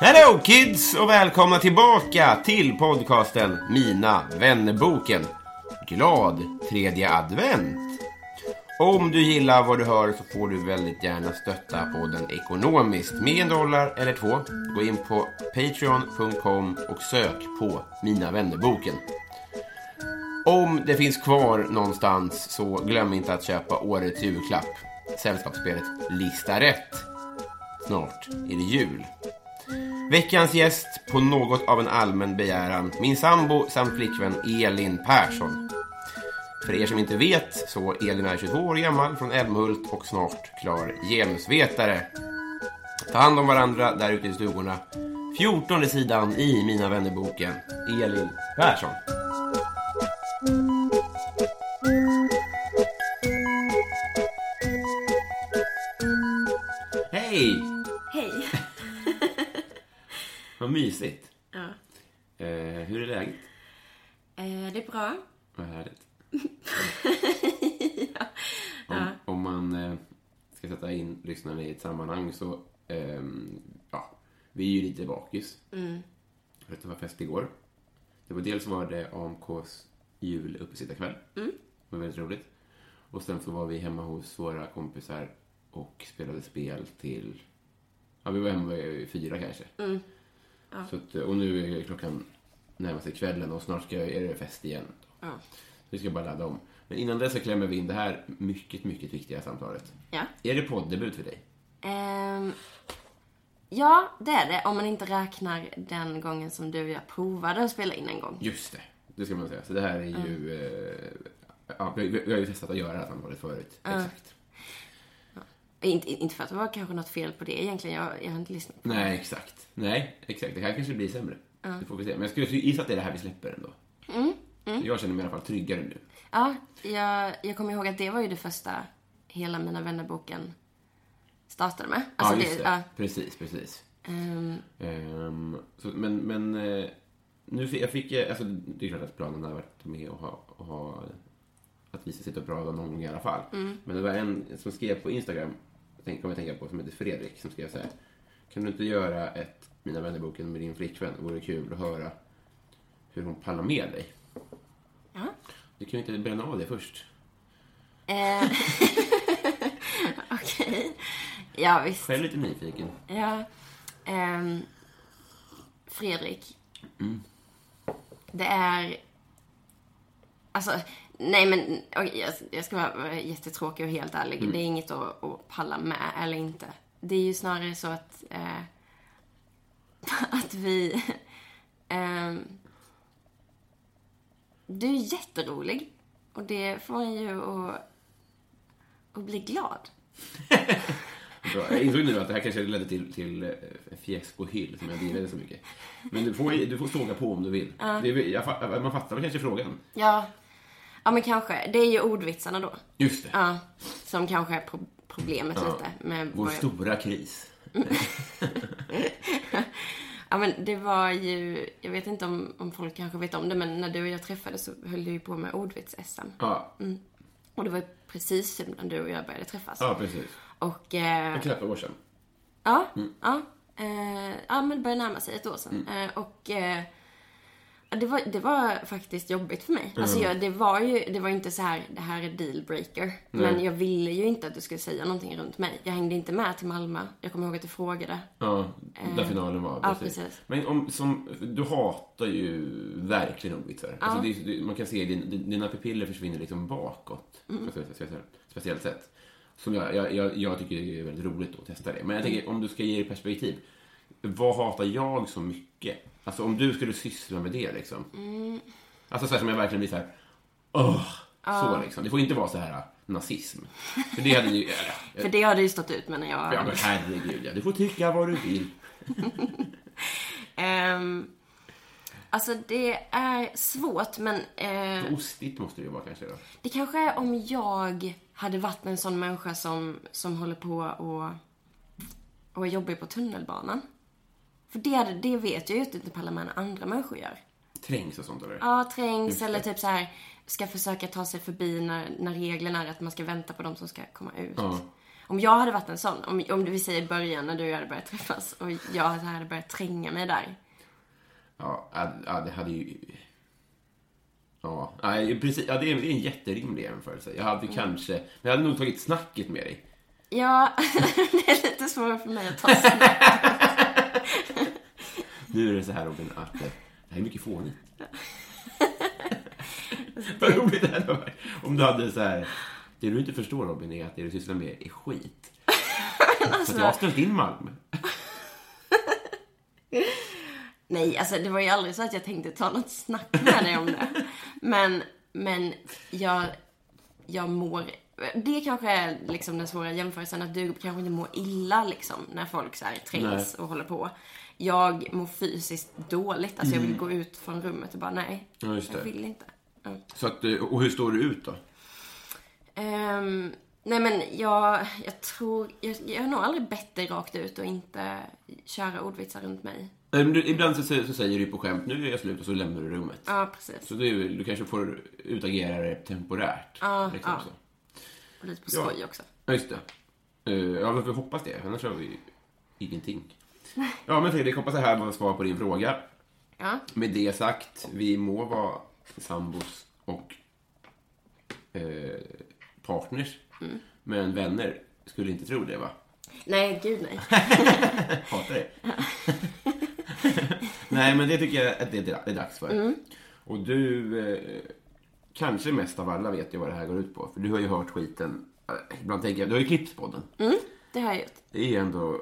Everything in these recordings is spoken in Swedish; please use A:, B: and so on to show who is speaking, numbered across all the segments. A: Hello kids och välkomna tillbaka till podcasten Mina vännerboken. Glad tredje advent! Om du gillar vad du hör så får du väldigt gärna stötta podden ekonomiskt med en dollar eller två. Gå in på patreon.com och sök på Mina vännerboken. Om det finns kvar någonstans så glöm inte att köpa årets julklapp. Sällskapsspelet Lista rätt. Snart är det jul. Veckans gäst på något av en allmän begäran, min sambo samt flickvän Elin Persson. För er som inte vet så Elin är 22 år gammal från Älmhult och snart klar genusvetare. Ta hand om varandra där ute i stugorna. 14 sidan i Mina vännerboken. Elin Persson. Hej!
B: Hej.
A: Vad mysigt.
B: Ja.
A: Eh, hur är läget?
B: Eh, det är bra.
A: Vad härligt.
B: ja.
A: Om,
B: Ja.
A: om man eh, ska sätta in lyssnarna i ett sammanhang så... ehm, ja, vi är ju lite bakis.
B: Mm.
A: För att det var fest igår. Det var dels var det AMKs jul uppesittarkväll.
B: Mm.
A: Det var väldigt roligt. Och sen så var vi hemma hos våra kompisar och spelade spel till... Ja, vi var hemma vid fyra kanske.
B: Mm. Ja.
A: Så att, och nu är klockan närmar sig kvällen och snart ska, är det fest igen.
B: Ja.
A: Vi ska bara ladda om. Men innan dess så klämmer vi in det här mycket, mycket viktiga samtalet.
B: Ja.
A: Är det poddebut för dig?
B: Ehm, ja, det är det. Om man inte räknar den gången som du och jag provade att spela in en gång.
A: Just det. Det ska man säga. Så det här är ju... Eh, ja, vi, vi har ju testat att göra det här samtalet förut. Exakt.
B: Eh, Inte, inte för att det var kanske något fel på det egentligen. Jag, jag har inte lyssnat.
A: Nej, exakt. Nej, exakt. Det här kanske blir sämre. Det får vi se. Men jag skulle gissa att det är det här vi släpper ändå.
B: Mm,
A: Jag känner mig i alla fall tryggare nu.
B: Ja, jag, jag kommer ihåg att det var ju det första hela Mina vännerboken startade med.
A: ja, just det.
B: Alltså ja.
A: Precis, precis.
B: Ehm,
A: Ehm, så, men, men eh, nu fick, jag fick, eh, alltså, det är klart att planen har varit med och ha, och ha att vi ska sitta och prata någon gång i alla fall. Men det var en som skrev på Instagram, tänk, kommer jag tänka på, som heter Fredrik, som skrev så här. Kan du inte göra ett Mina vännerboken med din flickvän? Det vore kul att höra hur hon pallar med dig.
B: ja.
A: Du kan ju inte bränna av det först.
B: Ehm, Okej. Ja, visst.
A: Själv lite nyfiken.
B: Ja. Ehm, Fredrik. Det är... Alltså, nej men okej, jag, jag ska vara vara jättetråkig och helt ärlig. Det är inget att, att palla med, eller inte. Det är ju snarare så att, eh, att vi... ehm, du är jätterolig. Och det får en ju att, att bli glad.
A: Bra. Jag insåg nu att det här kanske ledde till, till eh, en fiasko Hill som jag gillade så mycket. Men du får, du får såga på om du vill. Det är, jag, fa- man fattar väl kanske frågan.
B: Ja. Ja men kanske. Det är ju ordvitsarna då.
A: Just det.
B: Ja. Som kanske är pro- problemet
A: Ja.
B: lite. Med
A: Vår
B: vad-
A: stora kris.
B: ja men det var ju, jag vet inte om, om folk kanske vet om det men när du och jag träffades så höll du ju på med ordvits-SM.
A: Ja,
B: Och det var ju precis typ när du och jag började träffas.
A: ja precis.
B: Och eh,
A: Knappt ett år sedan.
B: ja, ja. Eh, ja, men det börjar närma sig ett år sedan.
A: Mm.
B: Eh, och eh, ja, det, var, det var faktiskt jobbigt för mig. Alltså
A: Mm.
B: jag, det var ju det var ju inte så här, det här är dealbreaker. Men jag ville ju inte att du skulle säga någonting runt mig. Jag hängde inte med till Malmö. Jag kommer ihåg att du frågade.
A: Ja, där finalen var.
B: Eh, ja, precis.
A: Men om, som, du hatar ju verkligen ordvitsar. Alltså det, är- det, man kan se i din, dina pupiller försvinner liksom bakåt på
B: Mm.
A: ett speciellt, speciellt- speciellt sätt. Som jag, jag, jag, jag tycker det är väldigt roligt att testa det. Men jag
B: Mm.
A: tänker, om du ska ge det perspektiv. Vad hatar jag så mycket? Alltså om du skulle syssla med det liksom.
B: Mm.
A: Alltså så här som jag verkligen blir så här. Åh, så liksom. Det får inte vara så här nazism. För det hade ju... eh,
B: För det hade ju stått ut med när jag...
A: Ja, men herregud ja. Du får tycka vad du vill.
B: Ehm, alltså det är svårt men eh,
A: Ostigt måste det ju vara kanske då.
B: det kanske är om jag hade varit en sån människa som, som håller på och, och är jobbig på tunnelbanan. För det, hade- det vet jag ju att inte pallar andra människor gör.
A: Trängs och sånt eller?
B: Ja, trängs eller typ så här ska försöka ta sig förbi när, när reglerna är att man ska vänta på dem som ska komma ut.
A: Ja.
B: Om jag hade varit en sån, om, om vi säger i början när du och jag hade börjat träffas och jag hade börjat tränga mig där.
A: Ja, ja, ja, det hade ju... Ja, nej, precis. Ja, det är det är en jätterimlig jämförelse. Jag hade kanske... Men jag hade nog tagit snacket med dig.
B: Ja, det är lite svårare för mig att ta sig.
A: Nu är det så här Robin att eh, det här är mycket fånigt. Vad roligt det hade varit om du hade så här... Det du inte förstår Robin är att det du sysslar med är skit. Så att jag har ställt in Malm.
B: Nej, alltså det var ju aldrig så att jag tänkte ta något snack med dig om det. Men, men jag, jag mår... Det kanske är liksom den svåra jämförelsen, att du kanske inte mår illa liksom när folk så här trängs och håller på. Jag mår fysiskt dåligt, alltså jag vill gå ut från rummet och bara nej,
A: Mm. Ja, just
B: jag
A: det.
B: vill inte. Ja.
A: Så att, eh, och hur står du ut då?
B: Ehm, nej men jag, jag tror, jag, jag har nog aldrig bett dig rakt ut och inte köra ordvitsar runt mig.
A: Nej, men Ehm, du- Ibland så, säger- så säger du på skämt, nu är jag slut och så lämnar du rummet.
B: Ja precis,
A: Så du, du kanske får utagera det temporärt.
B: Ja,
A: liksom
B: ja.
A: så.
B: och lite på
A: Ja.
B: skoj också.
A: ja just det. Eh, ja, men vi hoppas det. Annars har vi ingenting. Ja, men Fredrik, hoppas det här var svar på din fråga.
B: Ja.
A: Med det sagt, vi må vara sambos och eh, partners.
B: Mm.
A: Men vänner skulle inte tro det, va?
B: Nej, gud nej.
A: Hatar det. Nej, men det tycker jag att det är det är dags för. Och du, eh, kanske mest av alla vet ju vad det här går ut på. För du har ju hört skiten, eh, ibland tänker jag, du har ju klippt podden.
B: Det har jag gjort.
A: Det är ju ändå,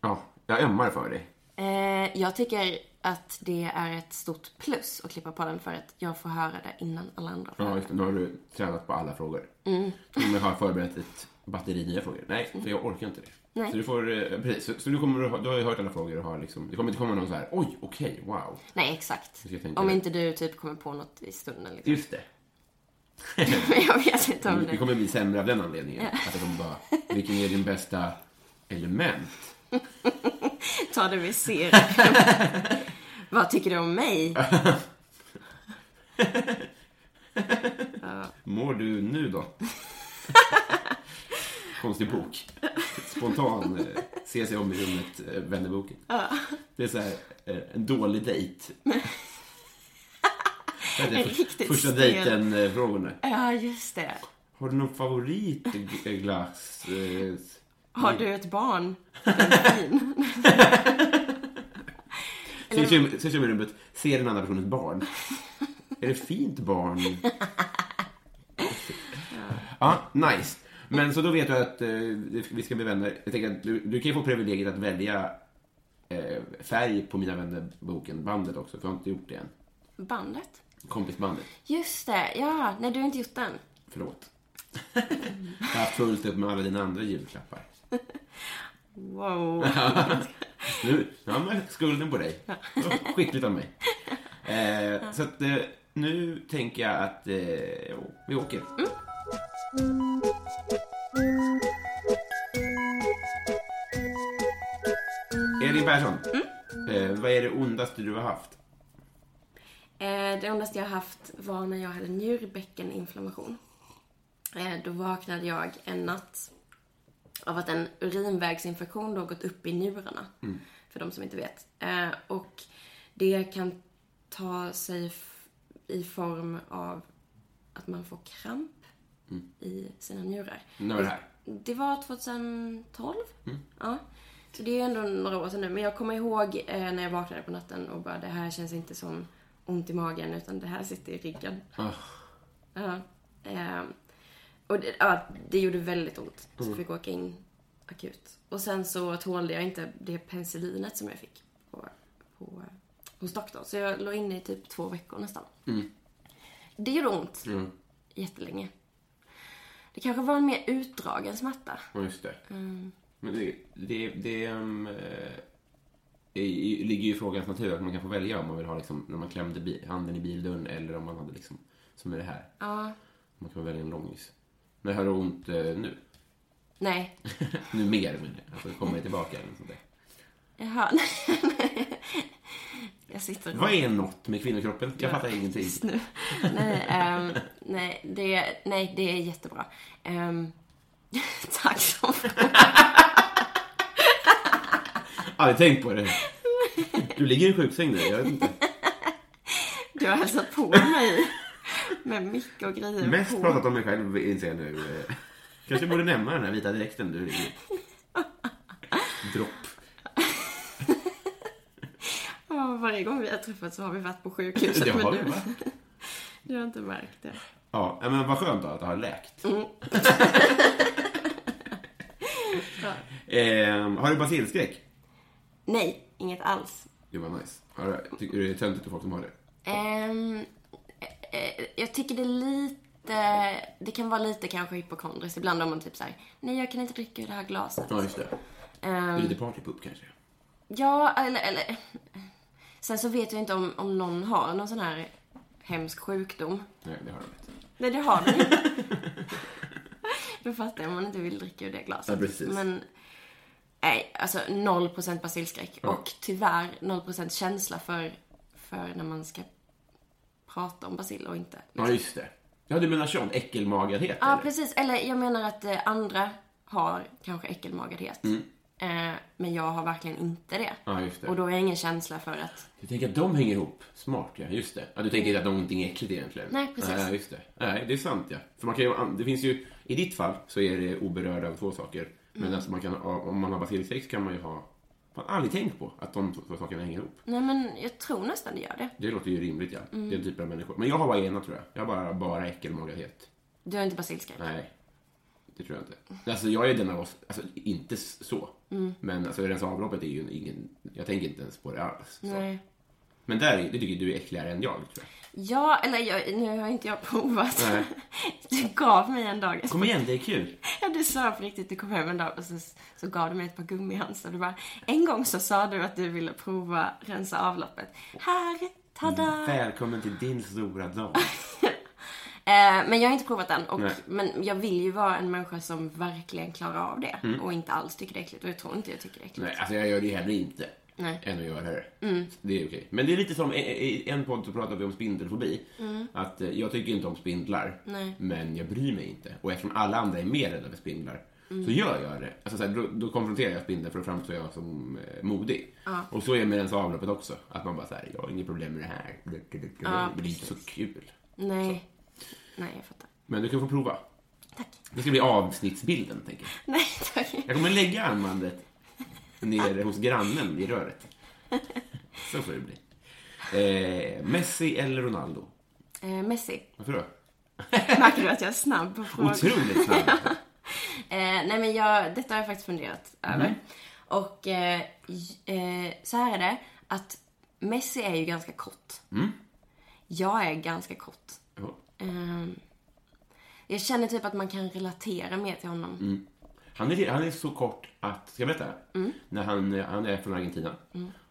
A: ja, jag ömmar för dig.
B: Eh, jag tycker att det är ett stort plus att klippa podden för att jag får höra det innan alla andra får
A: Ja,
B: höra
A: just det. Nu har du tränat på alla frågor. Mm. Till och med har förberett ett batteri nya frågor. Nej, för jag orkar inte det.
B: Nej.
A: Så du får, eh, precis. Så, så du, kommer, att ha- du har ju hört alla frågor och har liksom, det kommer inte komma någon så här, oj, okej, wow.
B: Nej, exakt.
A: ska tänka
B: Om
A: det.
B: inte du typ kommer på något i stunden liksom.
A: Just det.
B: Men jag vet inte om
A: Mm, Det
B: det.
A: kommer bli sämre av den anledningen. Att de bara, vilken är din bästa element?
B: Ta det vi ser. Vad tycker du om mig?
A: Mår du nu då? Konstig bok. Spontan, eh, se sig om i rummet, eh, vänder boken. Det är så här, eh, en dålig dejt. Det är
B: En
A: för-
B: riktigt
A: Första
B: stel.
A: dejten-frågorna.
B: Ja, just det.
A: Har du någon favoritglass? Eh,
B: Har du ett barn?
A: Se sig om- se sig om i rummet, se den andra personens barn. Är det fint barn? Ja, nice. Men så då vet du att eh, vi ska bli vänner. Jag tänker att du, du kan ju få privilegiet att välja eh, färg på Mina vänner-boken, bandet också, för jag har inte gjort det än.
B: Bandet?
A: Kompisbandet.
B: Just det, ja. Nej, du har inte gjort den.
A: Förlåt. Jag har haft fullt upp med alla dina andra julklappar.
B: Wow.
A: Nu nu har man skulden på dig. Det var Skickligt av mig. Eh, så att eh, nu tänker jag att eh, jo, vi åker. Elin Persson, eh, vad är det ondaste du har haft?
B: Eh, Det ondaste jag haft var när jag hade njurbäckeninflammation. Eh, Då vaknade jag en natt av att en urinvägsinfektion då gått upp i njurarna.
A: Mm.
B: För de som inte vet. Eh, och det kan ta sig f- i form av att man får kramp i sina njurar.
A: Mm. När var det här? Mm.
B: Det var 2012. Ja. Så det är ju ändå några år sedan nu. Men jag kommer ihåg eh, när jag vaknade på natten och bara det här känns inte som ont i magen utan det här sitter i ryggen.
A: Ah.
B: Ja. Eh, och det, ja, det gjorde väldigt ont. Så
A: Mm.
B: jag fick åka in akut. Och sen så tålde jag inte det penicillinet som jag fick på, på, hos doktorn. Så jag låg inne i typ två veckor nästan.
A: Mm.
B: Det gjorde ont. Jättelänge. Det kanske var en mer utdragen smärta.
A: Ja, just det. Men det, det, det ehm, eh, i- i- ligger ju i frågans natur att man kan få välja om man vill ha liksom, när man klämde bi, handen i bildörren eller om man hade liksom, som i det här.
B: Ja.
A: Man kan välja en långis. Men har du ont eh, nu?
B: Nej.
A: nu mer menar jag. Alltså, kommer jag tillbaka eller något sånt där.
B: Jaha. jag sitter
A: Vad är något med kvinnokroppen? Jag fattar ingenting.
B: just nu. nej, ehm, nej, det, nej, det är jättebra. Ehm, tack så mycket.
A: Aldrig tänkt på det. Du ligger i en sjuksäng nu, jag vet inte.
B: Du har hälsat på mig med mycket och grejer.
A: Mest
B: på.
A: pratat om mig själv inser jag nu. Eh, Kanske borde nämna den här vita dräkten du ligger i. Dropp.
B: Ja, varje gång vi har träffats så har vi varit på sjukhuset.
A: Det har
B: men
A: vi,
B: du,
A: va?
B: du har inte märkt det.
A: Ja, ja, men vad skönt då att det har läkt.
B: Mm.
A: Ehm, har du basilskräck?
B: Nej, inget alls.
A: Det var nice. Har du, tycker du det är töntigt för folk som har det?
B: Ehm, eh, eh, jag tycker det är lite... Det kan vara lite kanske hypokondriskt ibland om man typ såhär, nej jag kan inte dricka ur det här glaset.
A: Ja, just det. Det är
B: Ehm,
A: lite partypup kanske.
B: Ja, eller, eller... Sen så vet jag inte om, om någon har någon sån här hemsk sjukdom.
A: Nej, det har de inte.
B: Nej, det har den inte. Då fattar jag om man inte vill dricka ur det glaset.
A: Ja, precis.
B: Men... Nej, alltså 0% basilskräck.
A: Ja.
B: Och tyvärr 0% känsla för, för när man ska prata om basil och inte.
A: Ja, just det. Ja, du menar sån äckelmagadhet?
B: Ja,
A: eller?
B: precis. Eller jag menar att eh, andra har kanske äckelmagadhet. Eh, men jag har verkligen inte det.
A: Mm. Ja, just det.
B: Och då har jag ingen känsla för att
A: Du tänker att de hänger ihop? Smart, ja. Just det. Ja, du tänker inte att någonting är äckligt egentligen?
B: Nej, precis.
A: Nej, just det. Nej, det är sant, ja. För man kan ju, det finns ju, I ditt fall så är det oberörda av två saker. Men
B: Mm.
A: alltså man kan, om man har basilsex kan man ju ha... Man har aldrig tänkt på att de två två sakerna hänger ihop.
B: Nej men jag tror nästan det gör det.
A: Det låter ju rimligt, ja. Det är
B: Mm.
A: en typ av människor. Men jag har bara ena, tror jag. Jag har bara, bara äckelmagadhet.
B: Du har inte basilskräck?
A: Nej, det tror jag inte. Alltså, jag är den av oss, alltså inte s- så.
B: Mm.
A: Men alltså, rensa avloppet är ju ingen... Jag tänker inte ens på det alls. så.
B: Nej.
A: Men där, är- det tycker du är äckligare än jag, tror jag.
B: Ja, eller jag, nu har inte jag provat.
A: Nej.
B: Du gav mig en dag.
A: Kom igen, det är kul.
B: Ja, du sa på riktigt, du kom hem en dag och så, så gav du mig ett par gummihandsar. Du bara, en gång så sa du att du ville prova rensa avloppet. Här,
A: Mm,
B: tada!
A: Välkommen till din stora dag.
B: Eh, men jag har inte provat den. Och,
A: Nej.
B: men jag vill ju vara en människa som verkligen klarar av det.
A: Mm.
B: Och inte alls tycker det är äckligt. Och jag tror inte jag tycker det är äckligt.
A: Nej, alltså jag gör det heller inte.
B: Nej.
A: Än att göra det. Det är okej. Men det är lite som, i- i en podd så pratade vi om spindelfobi. Att eh, jag tycker inte om spindlar.
B: Nej.
A: Men jag bryr mig inte. Och eftersom alla andra är mer rädda för spindlar så gör jag det. Alltså, så här, då, då konfronterar jag spindeln för att framstår jag som eh, modig. Och så är med ens avloppet också. Att man bara så här, jag har inget problem med det här. det blir inte så kul.
B: Nej. Nej, jag fattar.
A: Men du kan få prova.
B: Tack.
A: Det ska bli avsnittsbilden, tänker jag.
B: Nej, tack.
A: Jag kommer lägga armbandet ner hos grannen i röret. Så får det bli. Eh, Messi eller Ronaldo?
B: Eh, Messi.
A: Varför då?
B: Märker du att jag är snabb på frågor?
A: Otroligt snabb.
B: Eh, nej men jag, detta har jag faktiskt funderat över. Och eh, j- eh, så här är det, att Messi är ju ganska kort. Jag är ganska kort.
A: Ja.
B: Ehm, jag känner typ att man kan relatera mer till honom.
A: Han är, han är så kort att, ska jag berätta? När han, han är från Argentina.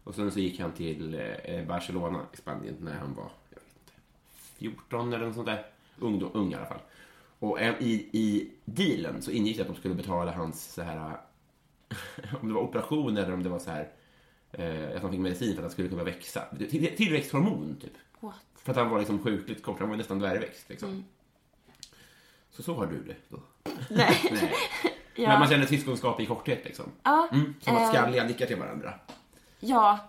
A: Och sen så gick han till eh, Barcelona i Spanien när han var jag vet inte, 14 eller något sånt där. Ung, ung i alla fall. Och eh, i, i dealen så ingick det att de skulle betala hans så här, om det var operation eller om det var så här, eh, att han fick medicin för att han skulle kunna växa. Till, tillväxthormon typ.
B: What?
A: För att han var liksom sjukligt kort, han var
B: Mm.
A: nästan dvärgväxt liksom. Så så har du det då.
B: Nej. Ja.
A: Men man känner syskonskap i korthet liksom.
B: Ja,
A: Mm, som att
B: eh,
A: skalliga nickar till varandra.
B: Ja.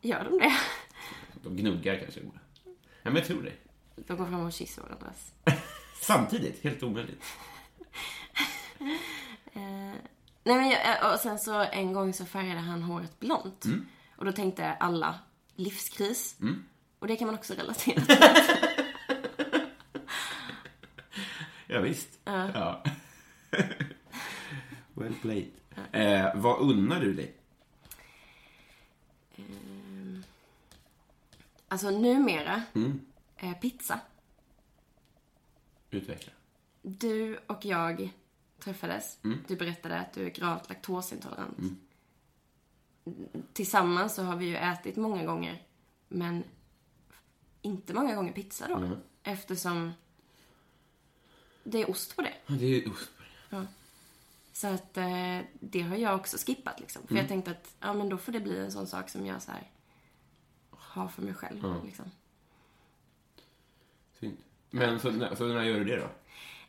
B: Gör de det?
A: De gnuggar kanske. Ja, men jag tror det.
B: De går fram och kysser varandras.
A: Samtidigt, helt omöjligt.
B: Nej men jag, eh, och sen så en gång så färgade han håret blont. Och då tänkte alla, livskris. Och det kan man också relatera till.
A: Ja, visst. Ja. well played. Eh, vad unnar du dig?
B: Alltså numera, eh, pizza.
A: Utveckla.
B: Du och jag träffades.
A: Mm.
B: Du berättade att du är gravt laktosintolerant. Tillsammans så har vi ju ätit många gånger, men inte många gånger pizza då.
A: Mm.
B: Eftersom det är ost på det.
A: Ja, Det är ost.
B: Så att eh, det har jag också skippat liksom. För
A: Mm.
B: jag tänkte att, ja men då får det bli en sån sak som jag så här har för mig själv
A: Mm.
B: liksom.
A: Synd. Men så, när- så när gör du det då?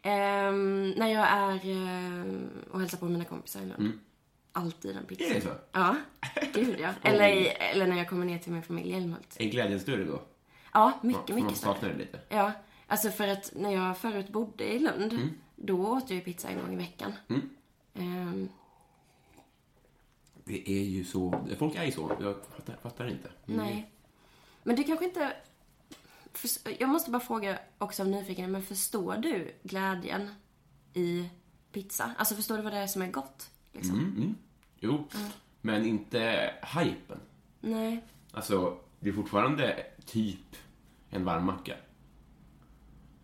B: Ehm, när jag är ehm, och hälsar på mina kompisar i Lund. Alltid en pizza.
A: Är Mm. det så?
B: Ja, gud ja. Eller, i- eller när jag kommer ner till min familj i Älmhult.
A: Är glädjen större då?
B: Ja,
A: För
B: mycket,
A: man
B: mycket
A: saknar
B: större.
A: det lite.
B: Ja, alltså för att när jag förut bodde i Lund, då åt jag ju pizza en gång i veckan. Ehm,
A: Det är ju så. Folk är ju så. Jag fattar, fattar inte. Mm.
B: Nej. Men du kanske inte... förs- Jag måste bara fråga också av nyfikenhet, men förstår du glädjen i pizza? Alltså förstår du vad det är som är gott? Liksom?
A: Jo, men inte hypen.
B: Nej.
A: Alltså, det är fortfarande typ en varm macka.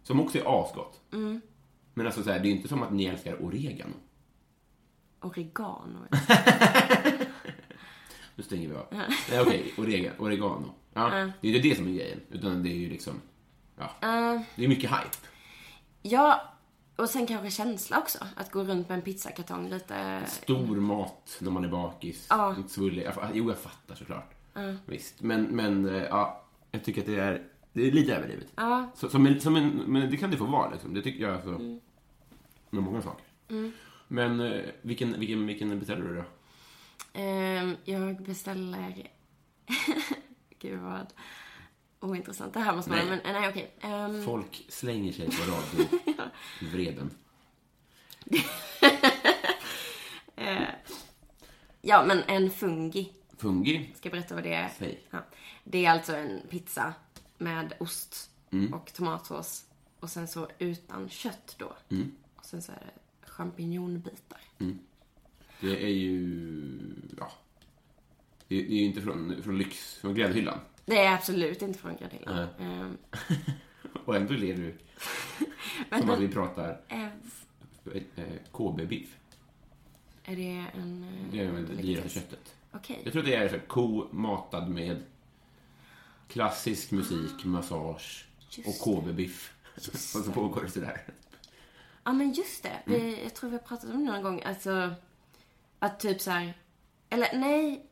A: Som också är asgott. Men alltså, så här, det är ju inte som att ni älskar oregano.
B: Oregano.
A: Nu stänger vi av. Nej, okej. orega- oregano. Ja, Det är inte det som är grejen. Utan det är ju liksom... Ja. Det är mycket hype.
B: ja, och sen kanske känsla också. Att gå runt med en pizzakartong lite...
A: Stor mat när man är bakis.
B: Ja.
A: Inte svullig. Jag fa- Jo, jag fattar såklart. Visst. Men, men eh, ja, jag tycker att det är, det är lite överdrivet.
B: Ja. Mm.
A: Så, som en, som en, men det kan det få vara. Liksom. Det tycker jag alltså, med många saker. Men eh, vilken, vilken, vilken beställer
B: Mm.
A: du då?
B: Ehm, jag beställer... Gud vad ointressant det här måste vara.
A: Nej.
B: Men eh, nej, okej. Ehm,
A: Folk slänger sig på radio. Vreden.
B: ja, men en fungi.
A: Fungi.
B: Ska jag berätta vad det är?
A: Säg.
B: Ja. Det är alltså en pizza med ost
A: Mm.
B: och tomatsås och sen så utan kött då.
A: Mm.
B: Och sen så är det champinjonbitar.
A: Det är ju... Ja. Det är det är ju inte från, från lyx, från gräddhyllan.
B: Det är absolut inte från gardinen.
A: Nej.
B: Ehm,
A: Och ändå ler du som att vi pratar
B: eh,
A: eh, KB-biff.
B: är det en... eh,
A: Det är väl det
B: vegetarisk?
A: dyraste köttet.
B: Okej.
A: Jag tror det är så här, ko matad med klassisk musik, massage och
B: Just
A: KB-biff. Och så pågår det sådär.
B: Ja men just det.
A: Mm.
B: Vi, jag tror vi har pratat om det någon gång. Alltså, att typ så här. Eller nej.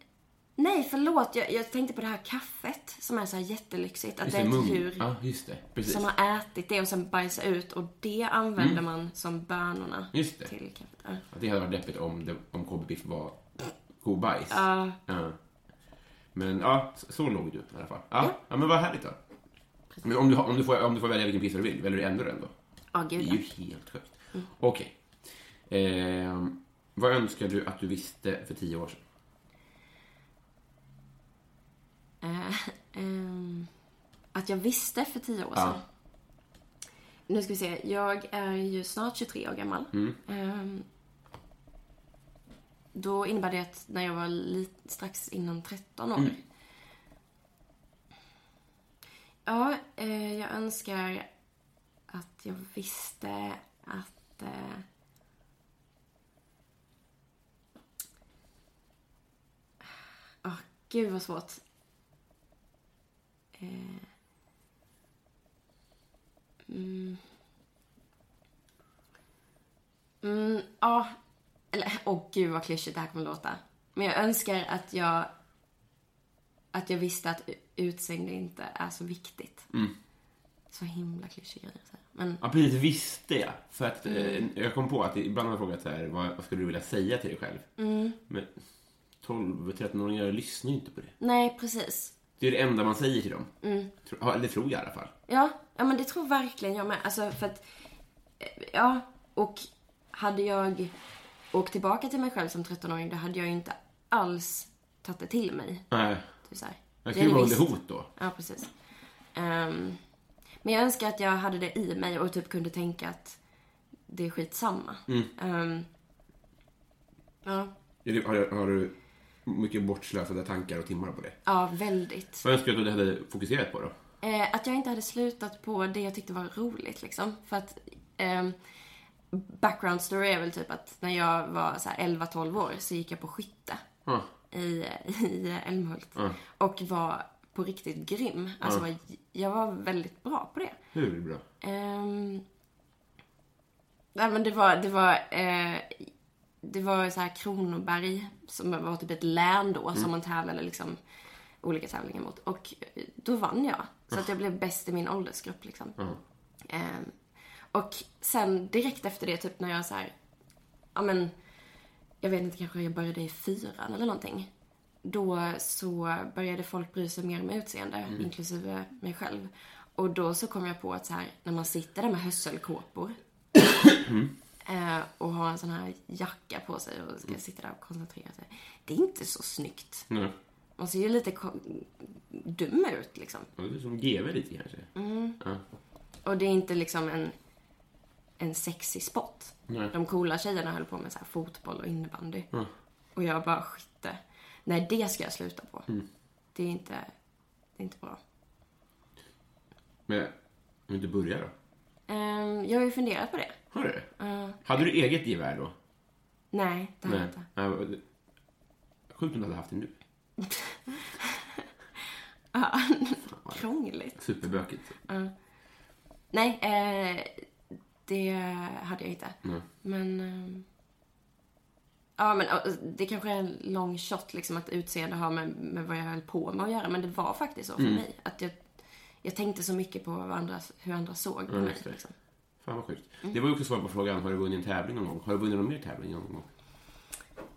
B: Nej förlåt. Jag, jag tänkte på det här kaffet som är så här jättelyxigt. Att det är ett djur.
A: Ja, just det. Precis. Mm.
B: som har ätit det och sen bajsar ut och det använder man som bönorna
A: Just det.
B: till kaffet. Ja.
A: Att det hade varit deppigt om, det- om KB-biff var kobajs.
B: Ja.
A: Ja. Men ja, så så låg du i alla fall. Ja, ja. men vad härligt då. Men om du, har- om, du får, om du får välja vilken pizza du vill, väljer du ändå den då?
B: Ja,
A: Det är
B: gud Mm.
A: ju
B: ja.
A: helt sjukt. Okej. Ehm, vad önskar du att du visste för tio år sedan?
B: Eh, Ehm, Att jag visste för tio år
A: Ja.
B: sedan. Nu ska vi se. Jag är ju snart 23 år gammal. Ehm, då innebär det att när jag var li- strax innan 13 år. Ja, eh, jag önskar att jag visste att... Eh, Åh, ah, gud vad svårt. Eh. Mm. Mm, ja. Eller, åh gud vad klyschigt det här kommer låta. Men jag önskar att jag... Att jag visste att u- utseende inte är så viktigt. Så himla klyschig grej att säga. Men
A: Ja, precis. Visste jag. För att
B: Mm.
A: eh, jag kom på att ibland har jag frågat så här, vad, vad skulle du vilja säga till dig själv?
B: Mm.
A: Men 12-13-åringar lyssnar ju inte på det.
B: nej, precis.
A: Det är det enda man säger till dem.
B: Mm.
A: Tro, ja, eller tror jag i alla fall.
B: Ja, ja men det tror verkligen jag med. Alltså för att, eh, ja, och hade jag åkt tillbaka till mig själv som 13-åring då hade jag ju inte alls tagit det till mig.
A: Nej.
B: Typ så här.
A: Jag
B: Det är
A: skulle vara under
B: visst.
A: hot då.
B: Ja, precis. Ehm, men jag önskar att jag hade det i mig och typ kunde tänka att det är skitsamma. Ehm, ja,
A: Är det- Har du, har du mycket bortslösade tankar och timmar på det?
B: ja, väldigt.
A: Vad önskar du att du hade fokuserat på då?
B: Eh, att jag inte hade slutat på det jag tyckte var roligt liksom. För att ehm, background story är väl typ att när jag var så här 11-12 år så gick jag på skytte
A: Ja.
B: i, i Älmhult. Och var på riktigt grym. Alltså var, jag var väldigt bra på det.
A: Hur bra?
B: Ehm, nej men det var, det var, eh, det var så här Kronoberg som var typ ett län då som man tävlade liksom olika tävlingar mot. Och eh, då vann jag. Så att jag blev bäst i min åldersgrupp liksom. Ehm, och sen direkt efter det, typ när jag så här, ja men, jag vet inte, kanske jag började i fyran eller någonting. Då så började folk bry sig mer om utseende, inklusive mig själv. Och då så kom jag på att så här, när man sitter där med hösselkåpor eh, och har en sån här jacka på sig och ska sitta där och koncentrera sig. Det är inte så snyggt.
A: Nej.
B: Man ser ju lite ko- dum ut liksom.
A: Ja, Det är som GV lite kanske.
B: Mm.
A: Ja.
B: Och det är inte liksom en, en sexig sport.
A: Nej.
B: De coola tjejerna höll på med så här fotboll och innebandy.
A: Ja.
B: Och jag bara skytte. Nej, det ska jag sluta på.
A: Mm.
B: Det, är inte, det är inte bra.
A: Men om du inte börjar då?
B: Ehm, jag har ju funderat på det.
A: Har du? Hade du eget gevär då?
B: Nej, det har jag inte.
A: Nej, vad- Sjukt om du hade haft det nu.
B: Krångligt.
A: Superbökigt.
B: Nej, eh, det hade jag inte.
A: Nej.
B: Men... ehm, ja, men eh, det kanske är en long shot liksom att utseende har med, med vad jag höll på med att göra. Men det var faktiskt så för
A: Mm.
B: mig. Att jag, jag tänkte så mycket på vad andra, hur andra såg på
A: Ja,
B: mig.
A: just det.
B: Liksom.
A: Fan vad sjukt. Det var ju också svar på frågan, har du vunnit en tävling någon gång? Har du vunnit någon mer tävling någon gång?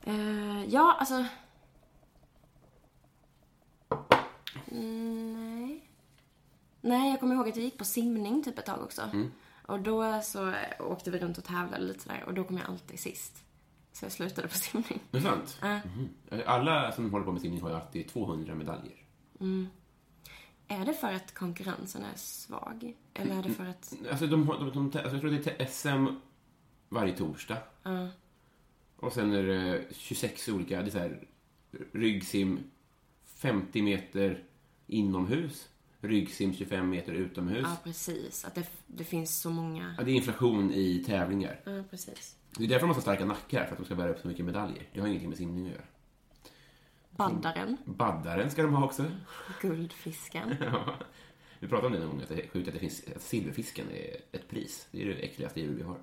B: Eh, ja, alltså... Mm, Nej. Nej, jag kommer ihåg att jag gick på simning typ ett tag också. Och då så eh, åkte vi runt och tävlade lite där och då kom jag alltid sist. Så jag slutade på simning.
A: Det är sant? Mhm. Alla som håller på med simning har ju alltid 200 medaljer.
B: Är det för att konkurrensen är svag? Eller är det för att...
A: Alltså, de, har- de, de, alltså jag tror det är till SM varje torsdag. Och sen är det 26 olika, det är så här, ryggsim 50 meter inomhus, ryggsim 25 meter utomhus.
B: Ja, precis. Att det, det finns så många...
A: Ja, det är inflation i tävlingar.
B: Ja, precis.
A: Det är därför de har så starka nackar, för att de ska bära upp så mycket medaljer. Det har ingenting med simning att göra.
B: Baddaren,
A: Baddaren ska de ha också.
B: guldfisken.
A: Ja. Vi pratade om det någon gång, att det är sjukt att, det finns, att silverfisken är ett pris. Det är det äckligaste djur vi har.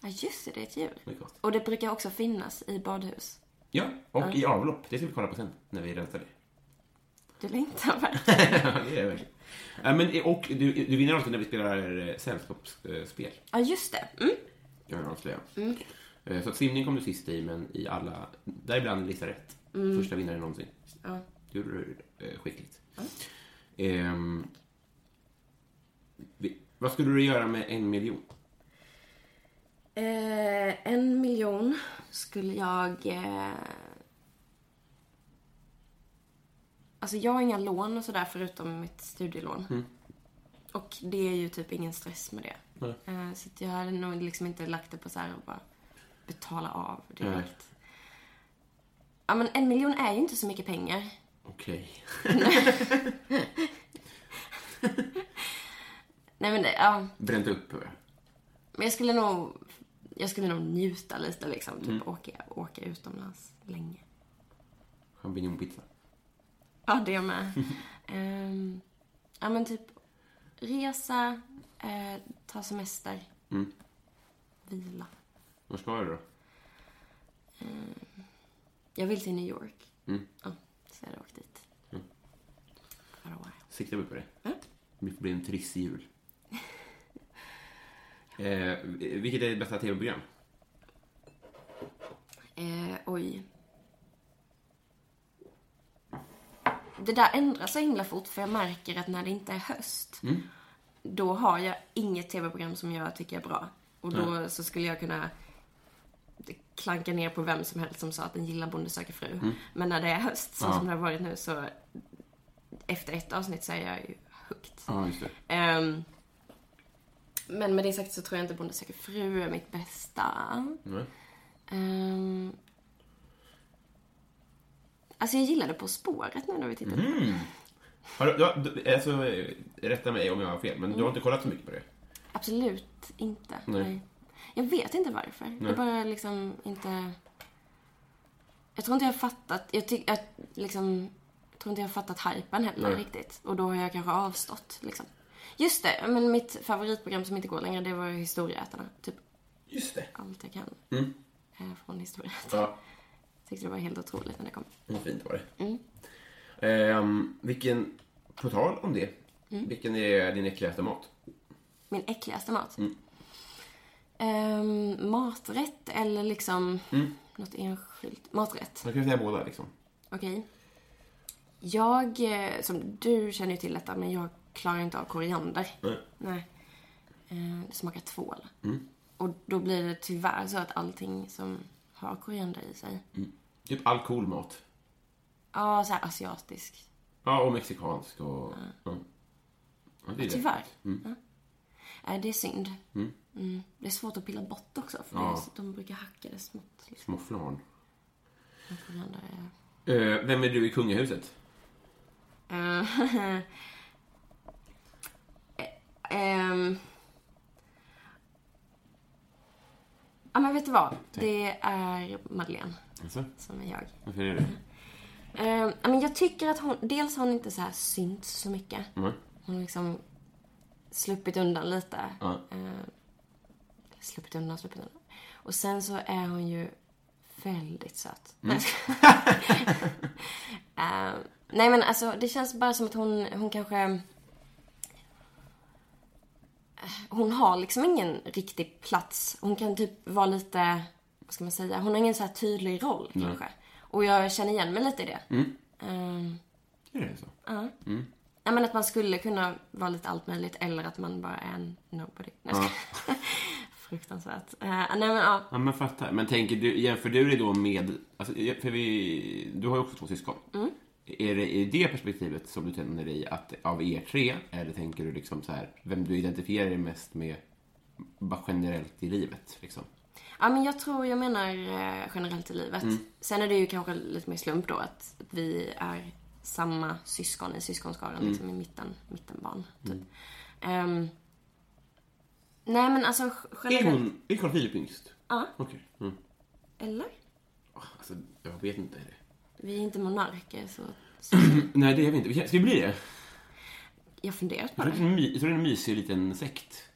B: Ja, just det, det är ett djur.
A: Det är gott.
B: Och det brukar också finnas i badhus.
A: Ja, och i avlopp. Det ska vi kolla på sen, när vi rensar det.
B: Du längtar verkligen.
A: Ja, det är det verkligen. Ja, men, och du, du vinner alltid när vi spelar eh, sällskapsspel,
B: Ja, just det. Mm.
A: kan jag avslöja. Eh, Så att simning kom du sist i, men i alla, däribland Lisa Rätt. Första vinnaren någonsin.
B: Ja.
A: Du är eh, skickligt. Ehm, vi- vad skulle du göra med en miljon?
B: Eh, en miljon skulle jag... Eh... Alltså jag har inga lån och sådär förutom mitt studielån. Och det är ju typ ingen stress med det.
A: Nej.
B: Eh, så att jag hade nog liksom inte lagt det på så här och bara betala av direkt. Ja men en miljon är ju inte så mycket pengar.
A: Okej.
B: Nej men det, ja.
A: Bränt upp. eh,
B: Men jag skulle nog... Jag skulle nog njuta lite liksom. Typ åka, åka utomlands länge.
A: Champinjonpizza.
B: Ja, det med. Ehm, ja, men typ resa, eh, ta semester, vila.
A: Vad ska du då?
B: Jag vill till New York. Ja, så jag har åkt dit. Mm. För a while.
A: Siktar vi på det?
B: Ja.
A: Vi får bli en trissjul. Eh, vilket är ditt bästa tv-program?
B: Eh, oj. Det där ändrar sig himla fort för jag märker att när det inte är höst, då har jag inget tv-program som jag tycker är bra. Och då så skulle jag kunna klanka ner på vem som helst som sa att den gillar Bonde söker fru. Men när det är höst, så
A: Ja.
B: som det har varit nu, så efter ett avsnitt så är jag ju högt.
A: Ja, just det.
B: Ehm, men med det sagt så tror jag inte Bonde söker fru är mitt bästa.
A: Nej.
B: Ehm, alltså jag gillade På spåret nu när vi tittade
A: Mm.
B: på det.
A: Har du, du, har- du, alltså, eh, rätta mig om jag har fel, men du har inte kollat så mycket på det?
B: Absolut inte.
A: Nej.
B: Nej. Jag vet inte varför. Jag bara liksom inte... Jag tror inte jag har fattat... Jag, tyck, jag, liksom, jag tror inte jag har fattat hypen heller
A: Nej.
B: riktigt. Och då har jag kanske avstått liksom. Just det, men mitt favoritprogram som inte går längre det var Historieätarna. Typ
A: Just det.
B: allt jag kan
A: Mm.
B: eh, från Historieätarna.
A: Ja,
B: Tyckte det var helt otroligt när det kom.
A: vad fint var det. Ehm, vilken, på tal om det, vilken är din äckligaste mat?
B: Min äckligaste mat?
A: Mm.
B: Ehm, maträtt eller liksom
A: Mm.
B: något enskilt? Maträtt.
A: Man kan ju säga båda liksom.
B: Okej. Jag, eh, som du känner ju till detta, men jag klarar inte av koriander.
A: Nej.
B: Nej. Eh, det smakar tvål.
A: Mm.
B: Och då blir det tyvärr så att allting som har koriander i sig,
A: Typ all cool mat.
B: ja så här asiatisk.
A: Ja, och mexikansk och... Ja. Ja, det är det.
B: Tyvärr. Ja. Eh, det är synd. Mm. Det är svårt att pilla bort också, för det är
A: Ja.
B: så- de brukar hacka det smått. Liksom.
A: Små flarn.
B: Koriander är...
A: Eh, vem är du i kungahuset?
B: Eh, ehm. Ja men vet du vad? Det är Madeleine
A: Alltså,
B: som är jag.
A: varför är det
B: Ehm, ja, men jag tycker att hon, dels har hon inte så här synts så mycket.
A: mm.
B: Hon har liksom sluppit undan lite.
A: Ja.
B: Ehm, sluppit undan, sluppit undan. Och sen så är hon ju väldigt söt. Ehm, nej men alltså det känns bara som att hon, hon kanske... Eh, Hon har liksom ingen riktig plats. Hon kan typ vara lite, vad ska man säga, hon har ingen så här tydlig roll kanske. Och jag känner igen mig lite i det. Ehm,
A: Är det så?
B: Ja men att man skulle kunna vara lite allt möjligt eller att man bara är en nobody. Nej, jag skojar. Fruktansvärt. Eh, nej men ja.
A: Ja, men fattar. Men tänker du, jämför du det då med... Alltså, för vi, du har ju också två syskon.
B: Mm.
A: Är det i det perspektivet som du tänker dig att av er tre, eller tänker du liksom så här, vem du identifierar dig mest med bara generellt i livet? Liksom?
B: ja men jag tror jag menar eh, generellt i livet.
A: Mm.
B: Sen är det ju kanske lite mer slump då att vi är samma syskon i syskonskaran
A: Mm.
B: liksom i mitten, mittenbarn. Typ. Ehm, nej men alltså
A: Är
B: generellt.
A: hon, är Carl Philip yngst?
B: Ja.
A: Okej. Mm.
B: Eller?
A: Alltså, jag vet inte.
B: Vi är inte monarker så, så
A: Nej, det är vi inte. Vi kan- Ska vi bli det?
B: jag har funderat på
A: Jag tror
B: det.
A: det är en my- jag tror det är en mysig liten sekt.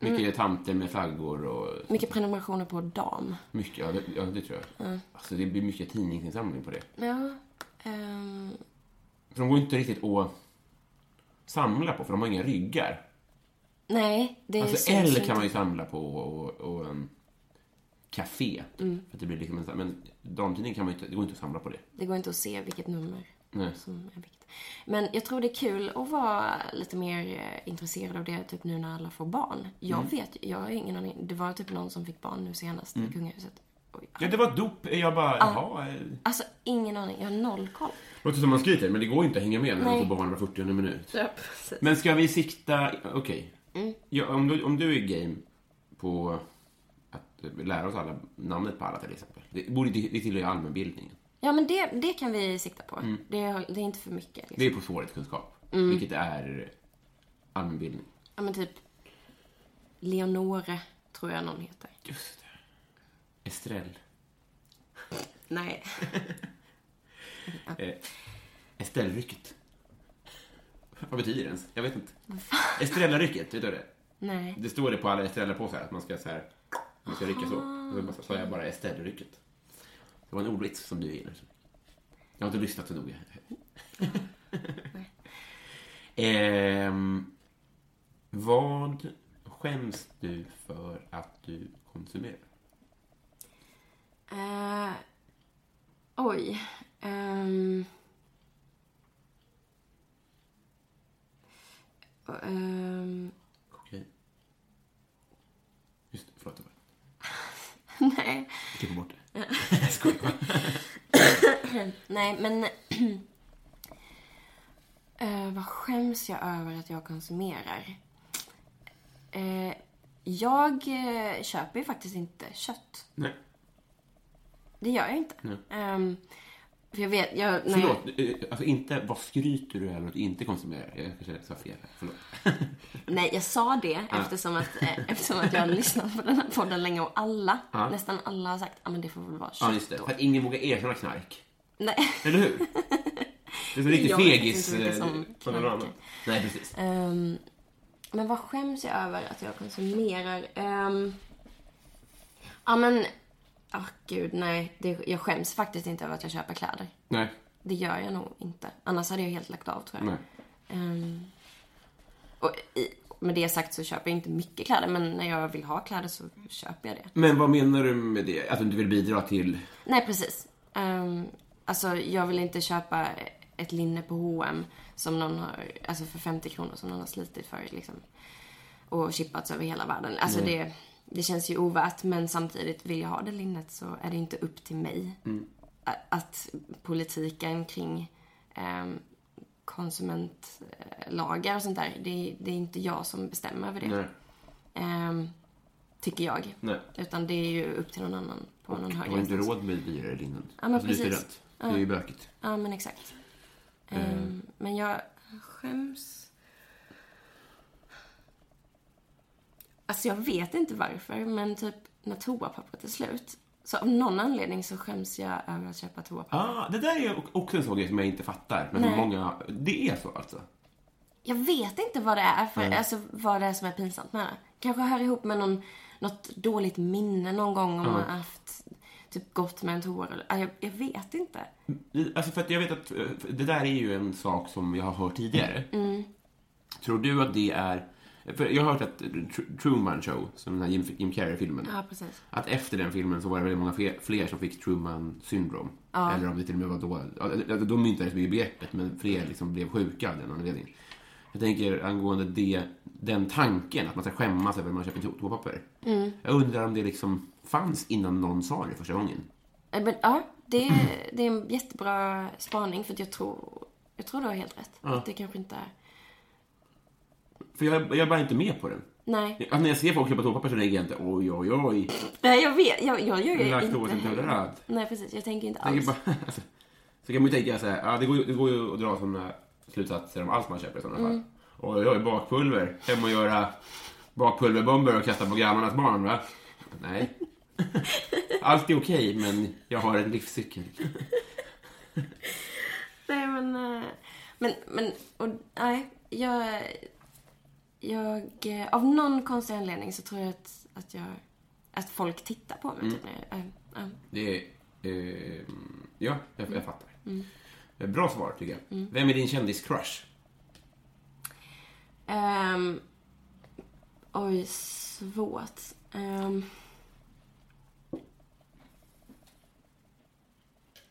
A: Mycket
B: Mm.
A: tanter med flaggor och
B: Mycket prenumerationer på dam.
A: mycket, ja det, ja, det tror jag. Alltså det blir mycket tidningsinsamling på det.
B: Ja. ehm,
A: För de går inte riktigt att samla på, för de har inga ryggar.
B: nej, det är
A: Alltså
B: syns ju
A: L
B: inte.
A: kan man ju samla på och, och, och en café.
B: Mm.
A: För att det blir liksom en, sam- men damtidning kan man ju inte, det går inte att samla på det.
B: Det går inte att se vilket nummer
A: Nej.
B: som är vilket. Men jag tror det är kul att vara lite mer eh, intresserad av det typ nu när alla får barn. Jag
A: Mm.
B: vet jag har ingen aning. Det var typ någon som fick barn nu senast i kungahuset. Oj.
A: Mm. Ja, det var ett dop. Jag bara, jaha. eh.
B: Alltså ingen aning. Jag har noll koll.
A: Låter som man skryter, men det går ju inte att hänga med när man
B: Nej.
A: får barn var 40 minut.
B: Ja, precis.
A: Men ska vi sikta... Okej. Ja, om, du, om du är game på att lära oss alla namnet på alla till exempel. Det, borde, det, det tillhör ju allmänbildningen.
B: Ja men det, det kan vi sikta på. Det, är- det är inte för mycket. Liksom.
A: Mm. Det är På såret kunskap, vilket är allmänbildning.
B: Ja men typ Leonore tror jag någon heter.
A: Just det. Estrell.
B: Nej.
A: Eh, Estrellrycket. Vad betyder det ens? Jag vet inte. Estrellarycket, vet du det?
B: Nej.
A: Det står det på alla Estrella-påsar att man ska så här... Man ska rycka så. Och så bara- sa jag bara Estrellrycket. Det var en ordvits som du gillar. Jag har inte lyssnat så noga. Ehm, vad skäms du för att du konsumerar?
B: Eh, oj. Ehm. Eh, Ehm,
A: Kokain? Just det, förlåt. jag bara-
B: nej.
A: Jag klipper bort det. Jag skojar bara.
B: Nej, men... Eh, vad skäms jag över att jag konsumerar? Eh, jag eh, köper ju faktiskt inte kött.
A: Nej,
B: Det gör jag inte. Ehm, för jag vet... Jag, när jag,
A: förlåt. Eh, Alltså inte vad skryter du över att du inte konsumerar? Jag kanske sa fel här. Förlåt.
B: Nej, jag sa det eftersom, att, eh, eftersom att jag har lyssnat på den här podden länge och alla,
A: Ja.
B: nästan alla har sagt att ah, men det får väl vara kött
A: Ja, just det.
B: då.
A: För att ingen vågar erkänna knark.
B: Nej.
A: Eller hur? Det är så riktigt
B: Jag vet
A: fegis.
B: inte vilka
A: eh,
B: som
A: panorama.
B: knarkar.
A: Nej, precis.
B: Ehm, men vad skäms jag över att jag konsumerar? Ehm, ja, men... ah gud, nej. Det, jag skäms faktiskt inte över att jag köper kläder.
A: Nej,
B: Det gör jag nog inte. Annars hade jag helt lagt av, tror jag.
A: nej.
B: Ehm, och i, med det sagt så köper jag inte mycket kläder, men när jag vill ha kläder så köper jag det.
A: Men vad menar du med det? Att du inte vill bidra till...
B: Nej, precis. Um, alltså, jag vill inte köpa ett linne på H&M som någon har, alltså för 50 kronor som någon har slitit för liksom. Och chippats över hela världen. Alltså
A: Mm.
B: det, det känns ju ovärt men samtidigt vill jag ha det linnet så är det inte upp till mig.
A: Mm.
B: A- Att politiken kring ehm, konsumentlagar och sånt där, det, det är inte jag som bestämmer över det.
A: Nej,
B: Ehm, tycker jag.
A: nej.
B: Utan det är ju upp till någon annan på någon
A: Du
B: högre
A: har inte
B: instans.
A: råd med dyrare linnen.
B: Ja, men
A: alltså, Du är
B: precis.
A: student. Det är ju bökigt.
B: Ja, men exakt. Ehm, Men jag skäms. Alltså jag vet inte varför, men typ när toapappret är slut. Så av någon anledning så skäms jag över att köpa toapapper.
A: Ah, det där är också en sån grej som jag inte fattar. Men
B: Nej.
A: många... Det är så alltså?
B: Jag vet inte vad det är för, alltså vad det är som är pinsamt med det. Kanske hör ihop med någon, något dåligt minne någon gång om man har haft typ gått med en toa. eller- ja, Jag, jag vet inte.
A: Alltså för att jag vet att eh, det där är ju en sak som jag har hört tidigare.
B: Mm.
A: Tror du att det är... För jag har hört att Tr- Truman Show, som den här Jim, Jim Carrey-filmen,
B: Ja, precis.
A: att efter den filmen så var det väldigt många fler, fler som fick Truman syndrom. Eller om det till och med var då... ja, De myntades med i begreppet, men fler liksom blev sjuka av den anledningen. Jag tänker angående det, den tanken, att man ska skämmas över att man köper to- toapapper. Jag undrar om det liksom fanns innan någon sa det första gången.
B: Nej, Eh, Men, ja, det är, det är en jättebra spaning för att jag tror, jag tror du har helt rätt. Att det kanske inte är...
A: För jag, jag är bara inte med på den.
B: Nej.
A: Alltså, när jag ser folk köpa toapapper så tänker jag inte oj, oj, oj,
B: Nej, jag vet. Jag, jag gör ju inte
A: laktosintolerant.
B: Nej, precis. Jag tänker inte
A: Jag
B: alls.
A: tänker bara, alltså, så kan man ju tänka så här, ja, det, går, ju- det går ju att dra sådana slutsatser om allt man köper i sådana fall. Oj, oj, bakpulver. Hem och göra bakpulverbomber och kasta på grannarnas barn, va? Nej. Allt är okej, men jag har en livscykel.
B: Nej, men... eh, Men, men... Och, nej, jag... Jag... eh, Av någon konstig anledning så tror jag att, att jag... Att folk tittar på
A: Mm.
B: mig. Typ, när jag, eh, ja.
A: Det är, eh, ja, jag, jag fattar. Eh, Bra svar, tycker jag. Vem är din kändis-crush?
B: Ehm, oj, svårt. Ehm,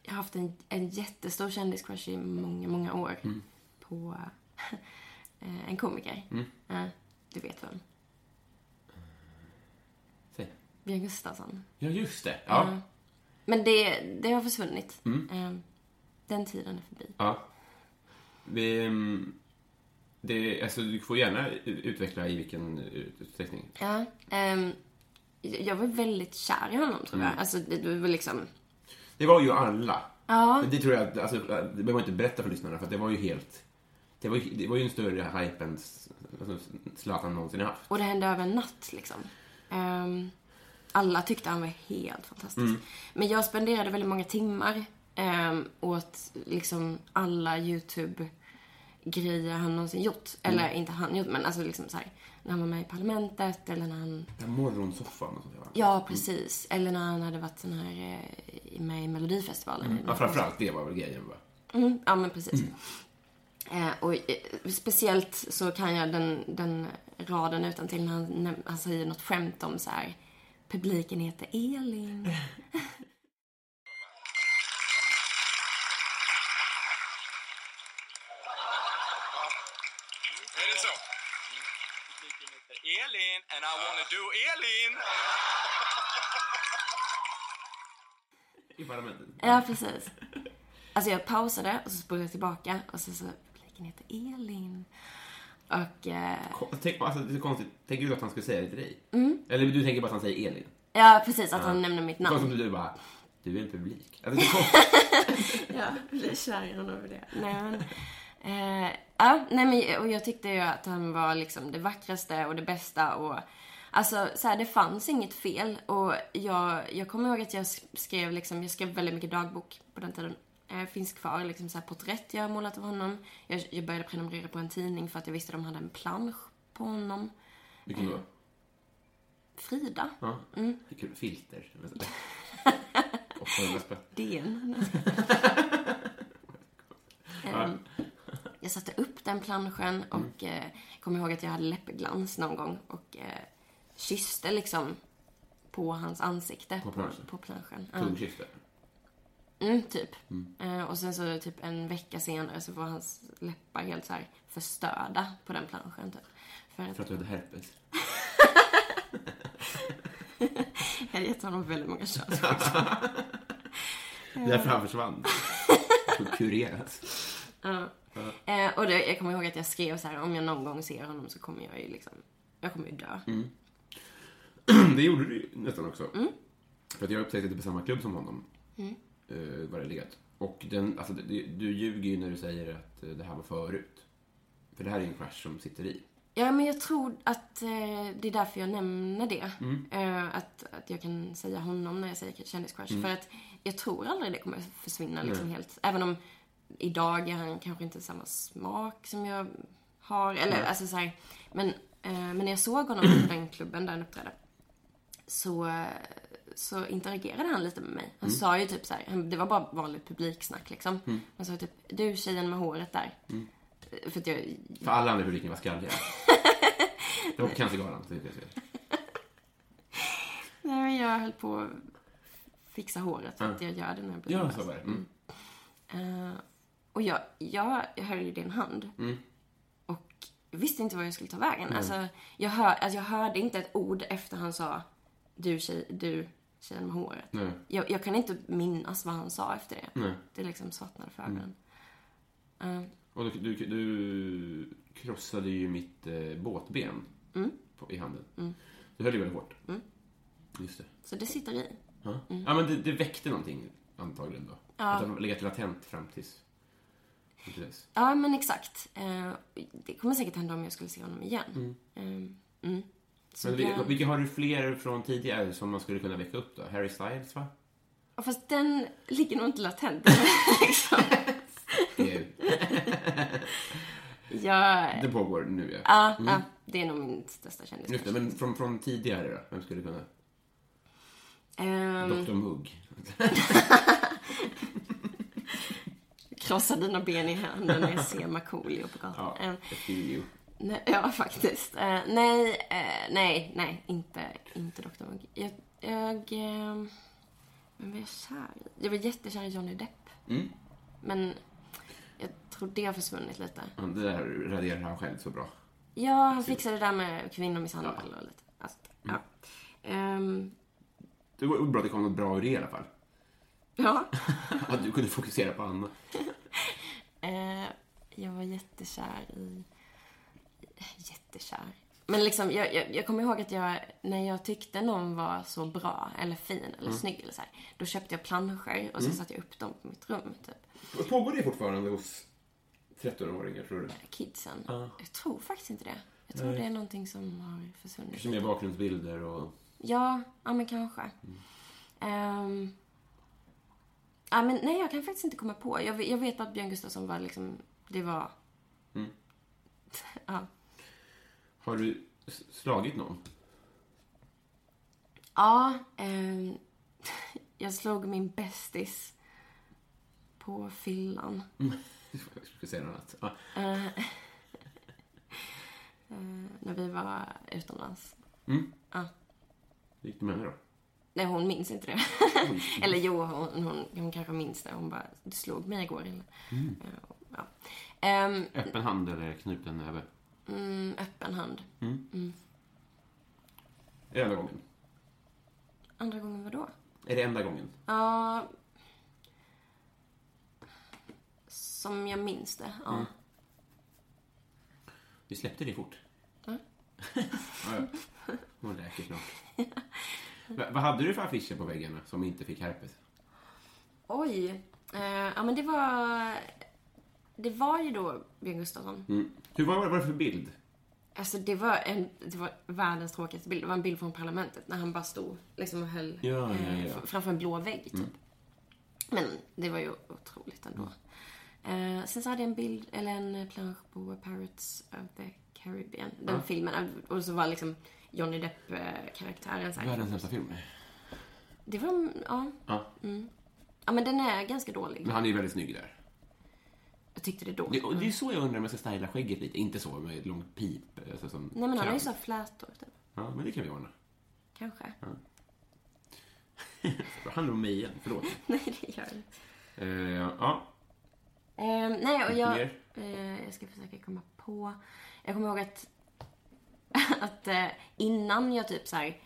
B: jag har haft en, en jättestor kändiscrush i många, många år på eh, en komiker. Ja, du vet vem.
A: Säg.
B: Björn Gustafsson.
A: Ja, just det. Ja.
B: Men det, det har försvunnit. Ehm, den tiden är förbi.
A: Ja. Vi, ehm, det, alltså, du får gärna u- utveckla i vilken ut- utsträckning.
B: Ja, ehm, jag jag var väldigt kär i honom, tror jag. Alltså, det, det var liksom...
A: Det var ju alla.
B: Ja.
A: Men Det tror jag, att- alltså, det behöver man inte berätta för lyssnarna för att det var ju helt... Det var ju, det var ju en större hype än s- alltså, Zlatan någonsin har haft.
B: Och det hände över en natt liksom. Ehm, alla tyckte han var helt fantastisk.
A: Mm.
B: Men jag spenderade väldigt många timmar ehm, åt liksom alla YouTube-grejer han någonsin gjort.
A: Mm.
B: Eller inte han gjort, men alltså liksom så här, när han var med i Parlamentet eller när han...
A: Den här morgonsoffan och sånt där, va?
B: Ja, precis. Eller när han hade varit sån här eh, med i Melodifestivalen.
A: Mm. Ja, framförallt det var väl grejen va?
B: Mm, ja men precis. Eh, och eh, speciellt så kan jag den, den raden utan till när han, när han säger något skämt om så här. Publiken heter Elin.
C: Är det så? Publiken heter Elin, and I wanna do Elin!
A: I parlamentet.
B: Ja, precis. Alltså jag pausade och så spolade jag tillbaka och så, så publiken heter Elin. Och eh,
A: Ko- Tänk, alltså, det är så konstigt. Tänker du att han skulle säga det till dig? Mm. Eller du tänker bara att han säger Elin?
B: ja, precis att han nämner mitt
A: Konstigt
B: namn.
A: om du bara, du är en publik. Alltså, det är konstigt.
B: Ja, blir kär i honom över det. Nej, men, eh, ja, nej, men och jag tyckte ju att han var liksom det vackraste och det bästa och Alltså så här, det fanns inget fel och jag, jag kommer ihåg att jag skrev liksom, jag skrev väldigt mycket dagbok på den tiden. Eh, finns kvar liksom så här porträtt jag har målat av honom. Jag, jag började prenumerera på en tidning för att jag visste att de hade en plansch på honom.
A: Vilken då?
B: Frida.
A: Ja.
B: Mm.
A: Det är kul. Filter. 800 spänn.
B: DN. Ehm, jag satte upp den planschen
A: Mm.
B: och eh, kom ihåg att jag hade läppglans någon gång och eh, kysste liksom på hans ansikte.
A: På planschen?
B: På planschen. Ja.
A: Tungkyss där.
B: Mm, typ. Eh, och sen så typ en vecka senare så var hans läppar helt så här förstörda på den planschen typ. För att
A: För att du hade herpes.
B: jag hade gett honom väldigt många kön.
A: Därför han försvann. Och kureras.
B: Eh, och det, jag kommer ihåg att jag skrev så här om jag någon gång ser honom så kommer jag ju liksom, jag kommer ju dö.
A: Det gjorde du ju nästan också. För att jag upptäckte det på samma klubb som honom. Mm. var det legat. Och den, alltså, det, du ljuger ju när du säger att eh, det här var förut. För det här är ju en crush som sitter i.
B: Ja, men jag tror att eh, det är därför jag nämner det. Eh, att, att jag kan säga honom när jag säger kändiscrush. För att jag tror aldrig det kommer försvinna liksom helt. Även om idag är han kanske inte samma smak som jag har. Eller alltså så här, men, eh, men när jag såg honom på den klubben där han uppträdde. Så, eh, så interagerade han lite med mig. Han sa ju typ så här, han- det var bara vanligt publiksnack liksom. Han sa typ, du tjejen med håret där. Eh, För att jag
A: För alla andra i publiken var skalliga. Det var på Cancergalan. så det vet jag.
B: Nej, men jag höll på att fixa håret så att jag gör det när jag blir
A: Ja,
B: nervös.
A: så var det. Mm.
B: Eh, och jag, jag, jag höll ju din hand.
A: Mm.
B: Och visste inte vad jag skulle ta vägen. Alltså, jag, hör, alltså, jag hörde inte ett ord efter han sa du, tjej, du tjejen med håret.
A: Nej.
B: Jag, jag kan inte minnas vad han sa efter det.
A: Nej. Mm.
B: Det liksom svartnade för ögonen.
A: Och du, du, du krossade ju mitt eh, båtben på, i handen. Du höll ju väldigt hårt. Just det.
B: Så det sitter i.
A: Ja, ja men det, det väckte någonting antagligen då. Att det har legat latent fram tills... fram till dess.
B: Ja, men exakt. Eh, det kommer säkert hända om jag skulle se honom igen. Eh, mm. Så
A: Mm. Men vi,
B: den-
A: vilka har du fler från tidigare som man skulle kunna väcka upp då? Harry Styles va?
B: Ja, Fast den ligger nog inte latent. liksom.
A: Det, är,
B: Jag...
A: det pågår nu ja.
B: Ja, ja, det är nog min största kändis.
A: Just det, men från, från tidigare då? Vem skulle kunna?
B: Ehm,
A: Dr Mugg.
B: krossa dina ben i handen när jag ser Markoolio på gatan.
A: Ja,
B: Ehm,
A: det är ju-
B: nej, ja, faktiskt. Eh, nej, eh, nej, nej, inte, inte Dr. Mugg. Jag, jag... ehm, vem var jag kär i? Jag var jättekär i Johnny Depp. Men jag tror det har försvunnit lite.
A: ja, Det där raderar han själv så bra.
B: Ja, han fixade det där med kvinnomisshandel och lite. Alltså, ja. Ehm,
A: Det var bra att det kom något bra ur det i alla fall.
B: ja.
A: Att du kunde fokusera på annat.
B: Eh, jag var jättekär i... Jättekär. Men liksom, jag, jag, jag kommer ihåg att jag, när jag tyckte någon var så bra eller fin eller snygg eller så här, då köpte jag planscher och så satte jag upp dem på mitt rum, typ.
A: Pågår det fortfarande hos 13-åringar tror du?
B: Kidsen. Jag tror faktiskt inte det. Jag tror det är någonting som har försvunnit.
A: Som är bakgrundsbilder och...
B: Ja, ja men kanske. Ehm, ja, men nej, jag kan faktiskt inte komma på. Jag, ve- jag vet bara att Björn Gustafsson var liksom, det var... ja.
A: Har du s- slagit någon?
B: Ja, eh, jag slog min bästis på fyllan.
A: Jag skulle säga något annat. Ja.
B: När vi var utomlands.
A: gick du med henne då?
B: Nej, hon minns inte det. eller jo, hon, hon, hon kanske minns det. Hon bara, du slog mig igår. Eller? Eh, Ja. Ehm,
A: Öppen hand eller knuten näve?
B: mm, öppen hand.
A: Enda gången.
B: Andra gången vadå?
A: Är det enda gången?
B: Ja... Som jag minns det, ja.
A: Vi släppte det fort. ja, ja. Hon läker snart. Va- Vad hade du för affischer på väggarna som inte fick herpes?
B: Oj. Eh, ja, men det var... Det var ju då Björn Gustafsson.
A: Mm. Hur var vad var det för bild?
B: Alltså, det var, en, det var världens tråkigaste bild. Det var en bild från Parlamentet när han bara stod liksom, och höll
A: Ja, ja,
B: eh,
A: ja. Mm.
B: fr- framför en blå vägg, typ. Men det var ju otroligt ändå.
A: Mm.
B: Eh, sen så hade jag en bild, eller en eh, plansch på Pirates of the Caribbean. Den filmen. Och så var liksom Johnny Depp-karaktären så här.
A: Världens sämsta film.
B: Det var, mm, ja. Mm.
A: Ja.
B: Ja men den är ganska dålig.
A: Men han är ju väldigt snygg där.
B: Jag tyckte det då.
A: Det, och det är så jag undrar om jag ska styla skägget lite. Inte så med ett långt pip. Alltså som
B: Nej men han har ju
A: kram.
B: så här flätor typ.
A: Ja, men det kan vi ordna.
B: Kanske.
A: Det handlar om mig igen. Förlåt.
B: Nej det gör det inte.
A: Eh, ja.
B: Ehm, nej och
A: Lite
B: jag,
A: mer?
B: eh, jag ska försöka komma på. Jag kommer ihåg att, att eh, innan jag typ så här,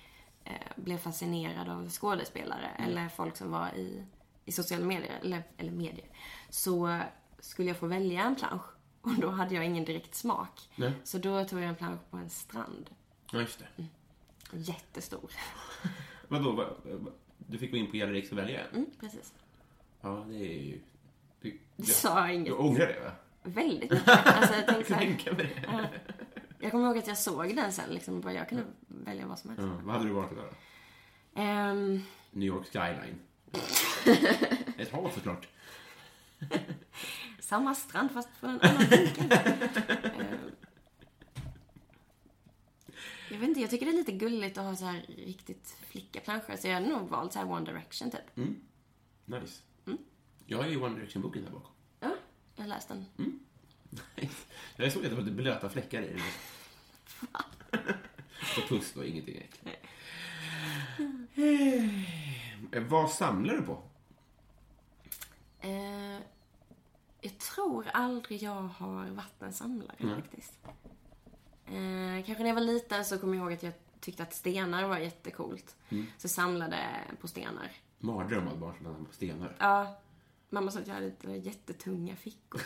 B: eh, blev fascinerad av skådespelare
A: Mm.
B: eller folk som var i, i sociala medier eller, eller medier. Så skulle jag få välja en plansch. Och då hade jag ingen direkt smak.
A: Nej.
B: Så då tog jag en plansch på en strand.
A: ja, just det.
B: Mm. Jättestor.
A: Vadå? Va, va, du fick gå in på Gallerix och välja en?
B: Mm, precis.
A: Ja, det är ju... Du,
B: Du
A: du,
B: sa
A: du
B: inget.
A: ångrar det, va?
B: Väldigt mycket. Alltså, jag,
A: Jag
B: tänkte, så
A: kan
B: här-
A: tänka mig det.
B: jag kommer ihåg att jag såg den sen. Liksom, och bara, jag kunde välja vad som helst.
A: Ja, Mm, vad hade du valt idag då?
B: Ehm,
A: New York skyline. Ett hav såklart.
B: samma strand fast från en annan vinkel. Ehm, jag vet inte, jag tycker det är lite gulligt att ha så här riktigt flickaplanscher. Så jag hade nog valt så här One Direction typ.
A: Nice. Jag har ju One Direction-boken här bakom.
B: Ja, jag har läst den.
A: Jag såg att det var lite blöta fläckar i den. Och puss och ingenting egentligen. Eh, Vad samlar du på?
B: Ehm, jag tror aldrig jag har varit en samlare faktiskt. Eh, kanske när jag var liten så kommer jag ihåg att jag tyckte att stenar var jättecoolt. Så jag samlade på stenar.
A: Mardröm att barn som landar på stenar.
B: Ja, mamma sa att jag hade lite jättetunga fickor.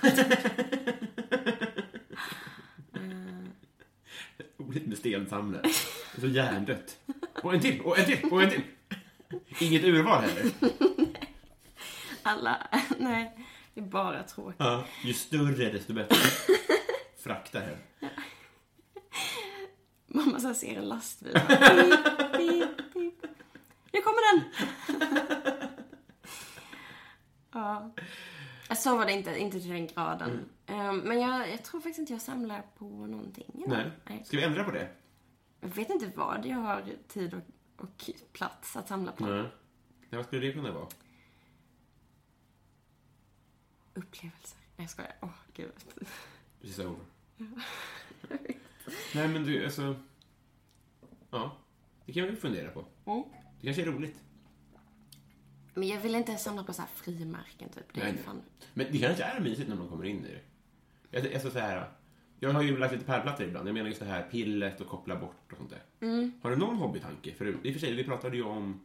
A: Roligt med stensamlare. Det är Så hjärndött. Och en till, och en till, och en till. Inget urval heller.
B: Alla, nej, det är bara tråkigt.
A: Ja, ju större desto bättre. Frakta hem.
B: Mamma så här ser en lastbil. Pip, pip, pip. Nu kommer den! ja. Så var det inte, inte till den graden.
A: Mm.
B: Ehm, Men jag, jag tror faktiskt inte jag samlar på någonting.
A: Nej.
B: Nej.
A: Ska vi ändra på det?
B: Jag vet inte vad jag har tid och, och plats att samla på.
A: Nej. Ja, Vad skulle det kunna vara?
B: Upplevelser. Nej, jag skojar. Åh, gud.
A: Precis over. Nej, men du, alltså... Ja, det kan vi väl fundera på.
B: Mm.
A: Det kanske är roligt.
B: Men jag vill inte samla på så här frimärken typ. Det är
A: Nej,
B: ju
A: nej.
B: fan...
A: Men det kanske är mysigt när man kommer in i det. Jag, alltså, så här, jag har ju lagt lite pärlplattor ibland. Jag menar just det här pillet och koppla bort och sånt där. Har du någon hobbytanke? För, I och för sig, vi pratade ju om,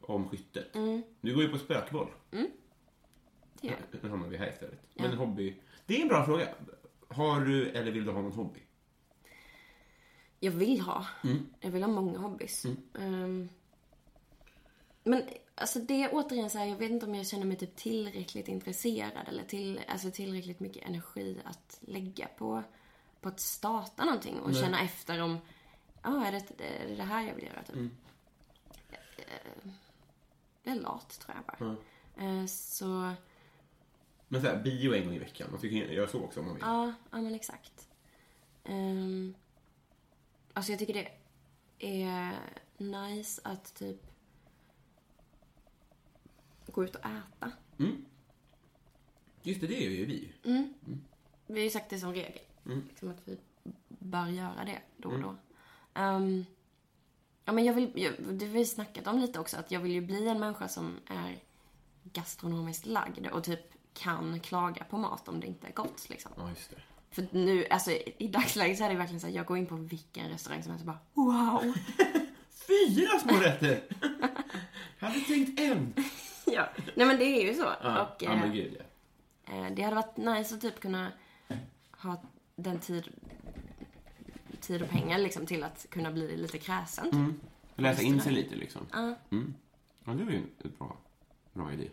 A: om skyttet. Du går ju på spökboll.
B: Det gör jag.
A: Nu hamnar vi här istället. Men hobby. Det är en bra fråga. Har du eller vill du ha någon hobby?
B: jag vill ha. Jag vill ha många hobbys. Ehm, men alltså det är återigen så här, jag vet inte om jag känner mig typ tillräckligt intresserad eller till, alltså tillräckligt mycket energi att lägga på, på att starta någonting och känna efter om, ja är, det, är det det här jag vill göra typ. Ehm, Jag är lat tror jag bara. Ehm, Så,
A: Men så här, bio en gång i veckan. Man tycker göra så också om man vill.
B: Ja, ja men exakt. Um, alltså jag tycker det är nice att typ gå ut och äta.
A: Just det, det gör ju vi.
B: Vi har ju sagt det som regel. Liksom att vi bör göra det då och då. Ehm, ja, men jag vill, jag, det har vi snackat om lite också, att jag vill ju bli en människa som är gastronomiskt lagd och typ kan klaga på mat om det inte är gott liksom.
A: Ja, just det.
B: För att nu, alltså i i dagsläget så är det verkligen så här, jag går in på vilken restaurang som helst och bara wow!
A: Fyra små rätter! Jag hade tänkt en.
B: ja. Nej men det är ju så.
A: Ja,
B: och,
A: ja
B: eh,
A: men gud ja.
B: Eh, Det hade varit nice att typ kunna ha den tid, tid och pengar liksom till att kunna bli lite kräsen. typ.
A: Mm. Läsa in sig lite liksom. Mm. Ja, det var ju en bra, bra idé.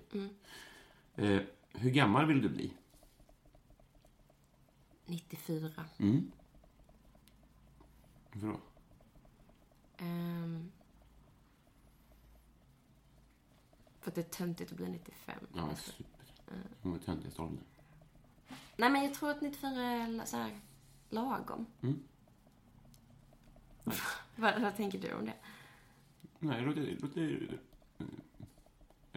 A: Eh, hur gammal vill du bli?
B: 94.
A: Mm. Varför då?
B: Ehm. för att det är töntigt att bli 95.
A: Ja, super. Hon var töntigast ålder.
B: Nej men jag tror att 94 är la- så här lagom.
A: Mm.
B: vad, vad tänker du om det?
A: Nej, det låter... det låter- eh,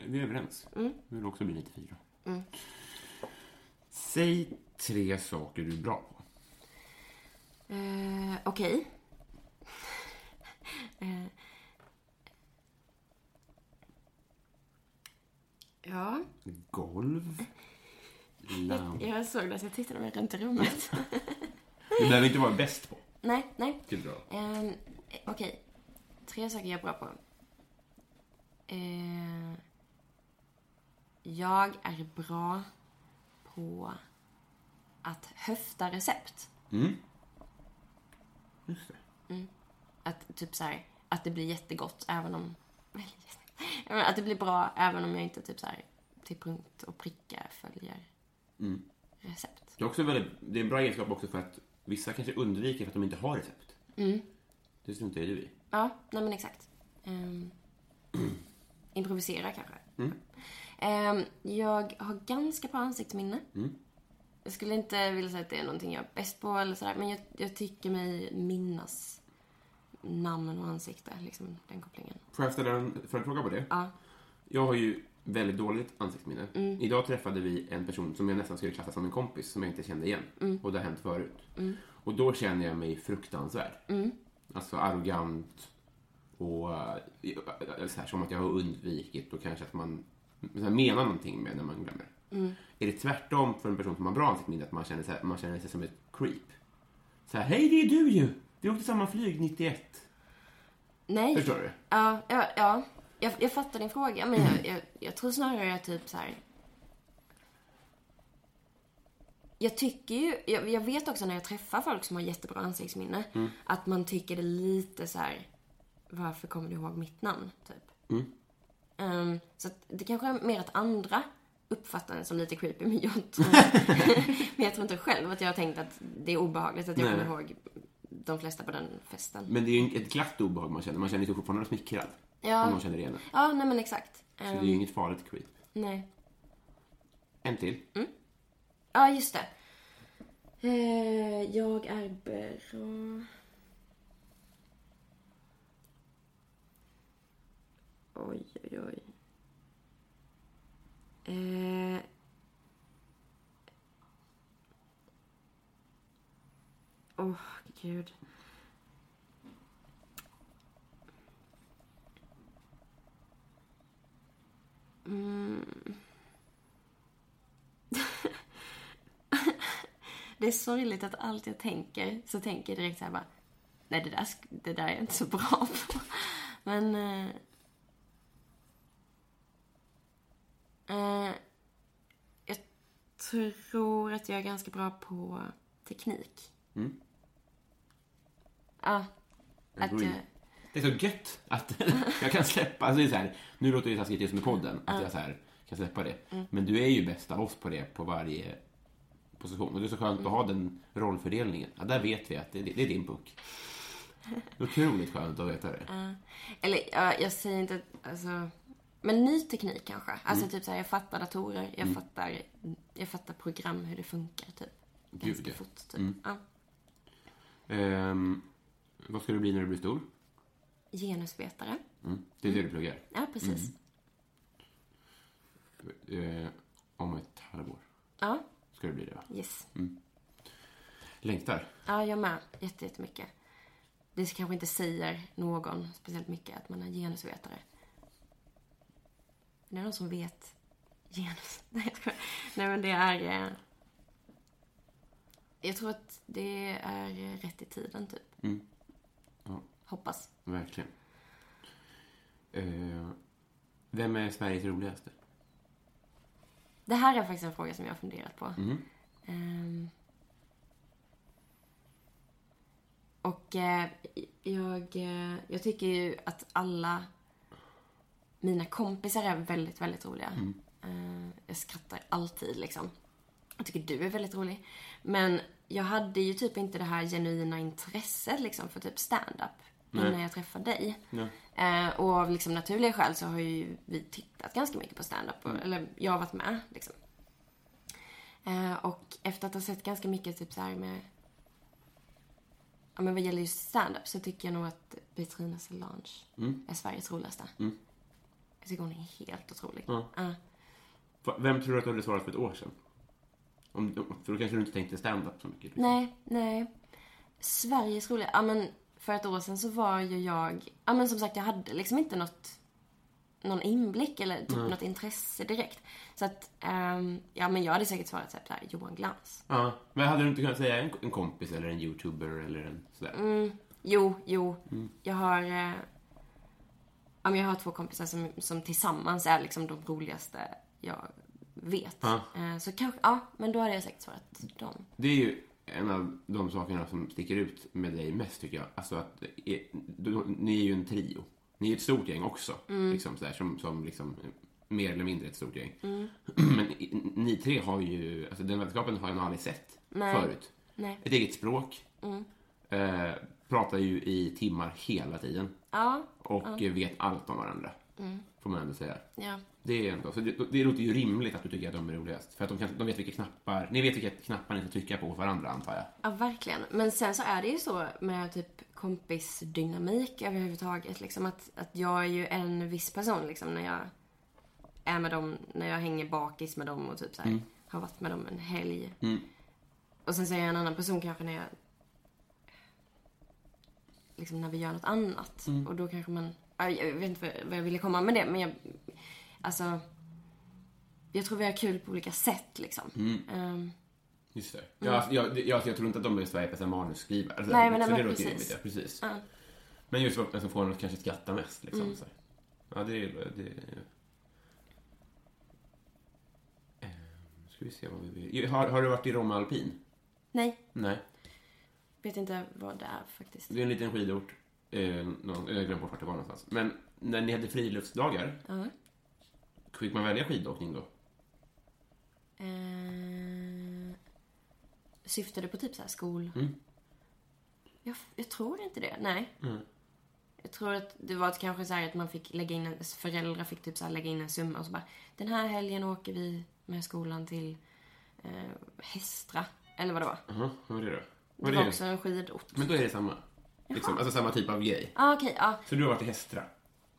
A: Vi är överens. Mm. Vi vill också bli 94. Säg tre saker du är bra på.
B: Eh, Okej. Eh. ja.
A: Golv. Lamp.
B: Jag såg det, så jag tittade mig runt i rummet.
A: Du behöver inte vara bäst på.
B: nej, nej.
A: Det är bra.
B: Ehm, Okej. Tre saker jag är bra på. Eh, jag är bra på att höfta recept.
A: Mm.
B: Mm.
A: Just det.
B: Att typ så här, att det blir jättegott även om... Jag menar, att det blir bra även om jag inte typ så här till punkt och pricka följer
A: Mm.
B: recept.
A: Det är, också väldigt, det är en bra egenskap också för att vissa kanske undviker för att de inte har recept. Det struntar ju du i.
B: Ja, nej men exakt. Ehm, improvisera kanske. Ehm, jag har ganska bra ansiktsminne. Jag skulle inte vilja säga att det är någonting jag är bäst på eller sådär, men jag, jag tycker mig minnas namn och ansikte, liksom den kopplingen.
A: Får jag ställa en följdfråga på det?
B: Ja.
A: Jag har ju väldigt dåligt ansiktsminne. Idag träffade vi en person som jag nästan skulle klassa som en kompis som jag inte kände igen. Och det har hänt förut. Och då känner jag mig fruktansvärd. Alltså arrogant och eh, så här, som att jag har undvikit och kanske att man så här, menar någonting med när man glömmer. Är det tvärtom för en person som har bra ansiktsminne att man känner, så här, man känner sig som ett creep? Så här, hej det är du ju! Vi åkte samma flyg 91.
B: Nej.
A: Förstår du?
B: Ja, ja, ja. Jag, jag fattar din fråga, men jag, jag, jag tror snarare jag typ så här. Jag tycker ju, jag, jag vet också när jag träffar folk som har jättebra ansiktsminne,
A: Mm.
B: att man tycker det är lite så här. varför kommer du ihåg mitt namn? Typ.
A: Mm.
B: Ehm, så att det kanske är mer att andra uppfattar den som lite creepy, men jag tror, men jag tror inte själv att jag har tänkt att det är obehagligt att jag
A: Nej.
B: kommer ihåg de flesta på den festen.
A: Men det är ju ett glatt obehag man känner. Man känner sig fortfarande smickrad.
B: Ja.
A: Om någon känner igen en.
B: Ja, nej men exakt.
A: Så
B: Ehm,
A: det är ju inget farligt creep.
B: Nej.
A: En till.
B: Mm, Ja, just det. Eh, jag är bra... Oj, oj, oj. Eh... Åh, gud. Det är sorgligt att allt jag tänker, så tänker jag direkt så här bara, nej det där, sk- det där är jag inte så bra på. Men... Eh, eh, jag tror att jag är ganska bra på teknik. Ja. Att eh,
A: går in.
B: jag,
A: Det är så gött att jag kan släppa. Alltså det är så här, nu låter det taskigt just med podden, att jag så här, kan släppa det.
B: Mm.
A: Men du är ju bäst av oss på det, på varje position. Och det är så skönt
B: Mm.
A: att ha den rollfördelningen. Ja, där vet vi att det, det är din puck. Det är Otroligt skönt att veta det.
B: eller ja, jag säger inte, alltså... Men ny teknik kanske. Alltså typ så här, jag fattar datorer, jag, fattar, jag fattar program, hur det funkar typ. Ganska
A: ja.
B: fort typ. Ja.
A: Ehm, vad ska du bli när du blir stor?
B: Genusvetare.
A: Mm. Det är det du pluggar.
B: Ja, precis.
A: Eh, om ett halvår
B: Ja,
A: ska du bli det, va?
B: yes.
A: Längtar.
B: Ja, jag med. Jätte, jättemycket. Det kanske inte säger någon speciellt mycket att man är genusvetare. Men det är någon som vet genus. Nej, jag skojar. Nej, men det är... eh, Jag tror att det är eh, rätt i tiden, typ.
A: Ja.
B: Hoppas.
A: Verkligen. Eh, vem är Sveriges roligaste?
B: Det här är faktiskt en fråga som jag har funderat på. Ehm. och eh, jag, eh, jag tycker ju att alla mina kompisar är väldigt, väldigt roliga. Eh, jag skrattar alltid liksom. Jag tycker du är väldigt rolig. Men jag hade ju typ inte det här genuina intresset liksom för typ stand-up innan jag träffade dig. Eh, och av liksom naturliga skäl så har ju vi tittat ganska mycket på stand-up. och- Eller jag har varit med liksom. Eh, och efter att ha sett ganska mycket typ så här med... Ja men vad gäller just stand-up så tycker jag nog att Petrina Solange är Sveriges roligaste. Jag tycker hon är helt otrolig. Ja.
A: Va- Vem tror du att du hade svarat för ett år sedan? Om, för då kanske du inte tänkte stand-up så mycket.
B: Nej, nej. Sveriges roliga... Ja, men för ett år sedan så var ju jag... Ja, men som sagt, jag hade liksom inte något, någon inblick eller typ något intresse direkt. Så att, ehm, ja men jag hade säkert svarat så här, så här, Johan Glans.
A: Ja, men hade du inte kunnat säga en, en kompis eller en youtuber eller en sådär?
B: Jo, jo. Jag har... Eh, ja, men jag har två kompisar som, som tillsammans är liksom de roligaste jag vet.
A: Ja.
B: Eh, så kanske, ja, men då hade jag säkert svarat dem.
A: Det är ju en av de sakerna som sticker ut med dig mest tycker jag. Alltså att eh, du- ni är ju en trio. Ni är ett stort gäng också.
B: Mm.
A: Liksom sådär, som, som liksom eh, mer eller mindre ett stort gäng.
B: Mm.
A: Men i- ni tre har ju, alltså den vänskapen har jag nog aldrig sett
B: Nej.
A: förut.
B: Nej. Mm.
A: Ett eget språk. Eh, pratar ju i timmar hela tiden.
B: Ja, Mm.
A: Och eh, vet allt om varandra. Får man ändå säga.
B: ja.
A: Det, är ändå, så det, det låter ju rimligt att du tycker att de är roligast. För att de, kan, de vet vilka knappar, ni vet vilka knappar ni ska trycka på åt varandra antar jag.
B: Ja, verkligen. Men sen så är det ju så med typ kompisdynamik överhuvudtaget. Liksom att, att jag är ju en viss person liksom när jag är med dem, när jag hänger bakis med dem och typ så här, har varit med dem en helg. Och sen så är jag en annan person kanske när jag, liksom när vi gör något annat. Och då kanske man, ja, jag vet inte vad- vad jag ville komma med det men jag, alltså, jag tror vi har kul på olika sätt liksom. Ehm,
A: Just det. Jag, jag, jag, jag tror inte att de är Sveriges bästa manusskrivare. Alltså,
B: Nej, men-
A: så
B: men
A: det låter ju
B: precis.
A: rimligt, ja, precis. Men just vem som får en att kanske skratta mest. Liksom,
B: Mm.
A: så. här. Ja, det är... Det är... Ehm, Ska vi se vad vi vill. Har, har du varit i Romme Alpin?
B: nej.
A: Nej.
B: Vet inte vad det är faktiskt.
A: Det är en liten skidort. Eh, någon, jag glömde bort vart det var någonstans. Men när ni hade friluftsdagar,
B: Ja.
A: fick man välja skidåkning då?
B: Eh, syftar du på typ så här skol...
A: Mm.
B: Jag, jag tror inte det, nej.
A: Mm.
B: Jag tror att det var att kanske så här att man fick lägga in, en- föräldrar fick typ så här lägga in en summa och så bara den här helgen åker vi med skolan till eh, Hästra. Eller vad det var.
A: Jaha, vad var det då? Vad
B: Det
A: är
B: var också en skidort.
A: Men då är det samma. Liksom, alltså samma typ av grej.
B: Ja, ah, okej. ja.
A: Så du har varit i Hästra?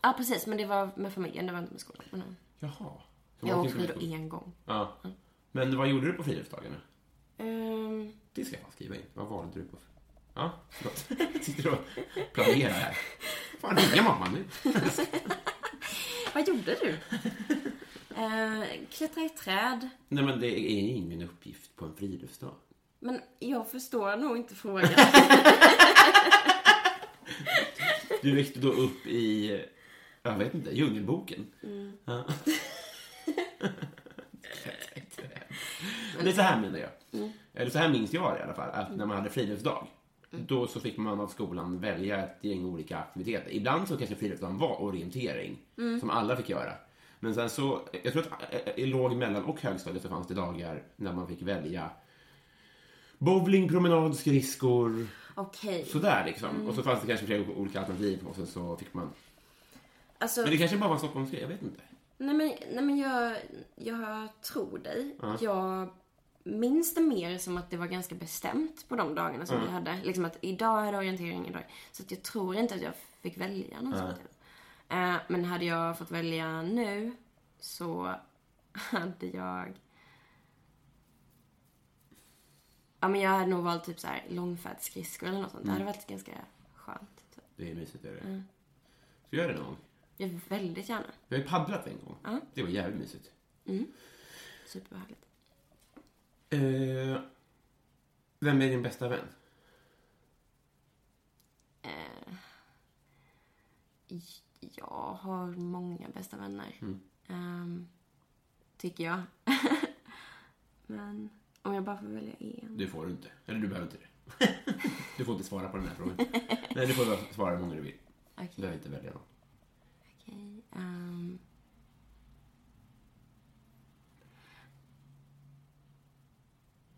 B: Ja, precis. Men det var med familjen, det var inte med skolan. Men, ja.
A: Jaha. Så
B: jag
A: man
B: åkte
A: åker inte
B: skidor
A: med-
B: en gång.
A: Ja. Men vad gjorde du på friluftsdagarna?
B: Ehm,
A: Det ska jag fan skriva in. Vad valde du på? Ja, förlåt. Sitter du och planerar här? Fan, ringa mamma nu.
B: Vad gjorde du? eh, klättra i träd.
A: Nej, men det är ingen uppgift på en friluftsdag.
B: Men jag förstår nog inte frågan.
A: Du växte då upp i, jag vet inte, Djungelboken? Mm. Ja. Det är så här menar jag. Eller så här minns jag det i alla fall, att när man hade friluftsdag Då så fick man av skolan välja ett gäng olika aktiviteter. Ibland så kanske friluftsdagen var orientering, som alla fick göra. Men sen så, jag tror att eh, eh, i låg-, mellan och högstadiet så fanns det dagar när man fick välja bowling, promenad, skridskor,
B: Okej.
A: sådär liksom. Och så fanns det kanske flera olika alternativ och sen så fick man...
B: Alltså,
A: Men det kanske bara var en Stockholmsgrej, jag vet inte.
B: nej men, nej men jag, jag tror dig. Jag minns det mer som att det var ganska bestämt på de dagarna som vi hade. Liksom att idag är det orientering, idag. Så att jag tror inte att jag fick välja något sånt. Eh, men hade jag fått välja nu så hade jag... Ja men jag hade nog valt typ såhär långfärdsskridskor eller något sånt. Det hade varit ganska skönt. Typ.
A: Det är mysigt. Är det. Ska vi göra det någon gång?
B: Jag vill väldigt gärna.
A: Vi har ju paddlat en gång. Det var jävligt mysigt.
B: Superbehagligt.
A: Eh, vem är din bästa vän?
B: Eh, Jag har många bästa vänner.
A: Mm.
B: Ehm, tycker jag. men om jag bara får välja en.
A: Det får du inte. Eller du behöver inte det. du får inte svara på den här frågan. Nej, du får bara svara hur många du vill.
B: Okej.
A: Du behöver inte välja någon.
B: Okej. ehm.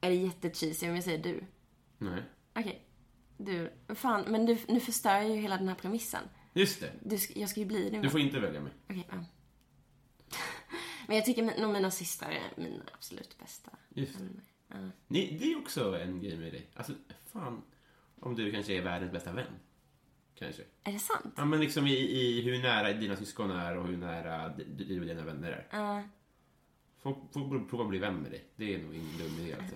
B: Är det jättecheesy om jag säger du?
A: Nej.
B: Okej. Du, fan, men du, nu förstör jag ju hela den här premissen.
A: Just det.
B: Du, sk- jag ska ju bli din
A: Du
B: vän.
A: får inte välja mig.
B: Okej, ja. Men jag tycker min- nog mina systrar är mina absolut bästa.
A: Just det.
B: vänner. Ja.
A: Ni, det är också en grej med dig. Alltså, fan. Om du kanske är världens bästa vän. Kanske.
B: Är det sant?
A: Ja, men liksom i, i hur nära dina syskon är och hur nära d- du och dina vänner är.
B: Ja.
A: Folk får prova att bli vän med dig. Det är nog ingen dum idé. Alltså.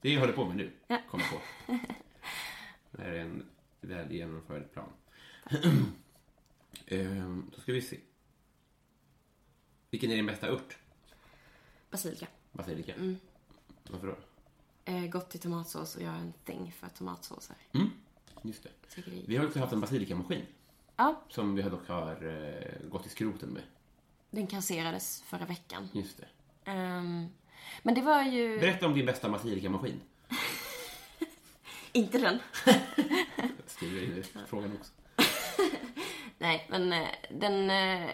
A: Det håller jag på med nu, kommer jag på. Det här är en väl genomförd plan. Ehm, Då ska vi se. Vilken är din bästa ört?
B: Basilika.
A: Basilika? Varför då?
B: Eh, gott i tomatsås och jag är en thing för tomatsåser.
A: Mm. Just det.
B: Tycker det är-
A: Vi har också haft en basilikamaskin
B: Ja,
A: som vi dock har eh, gått i skroten med.
B: den kasserades förra veckan.
A: Just det.
B: Ehm, men det var ju...
A: Berätta om din bästa basilikamaskin.
B: Inte den.
A: Jag skriver in i frågan också.
B: Nej, men eh, den... eh,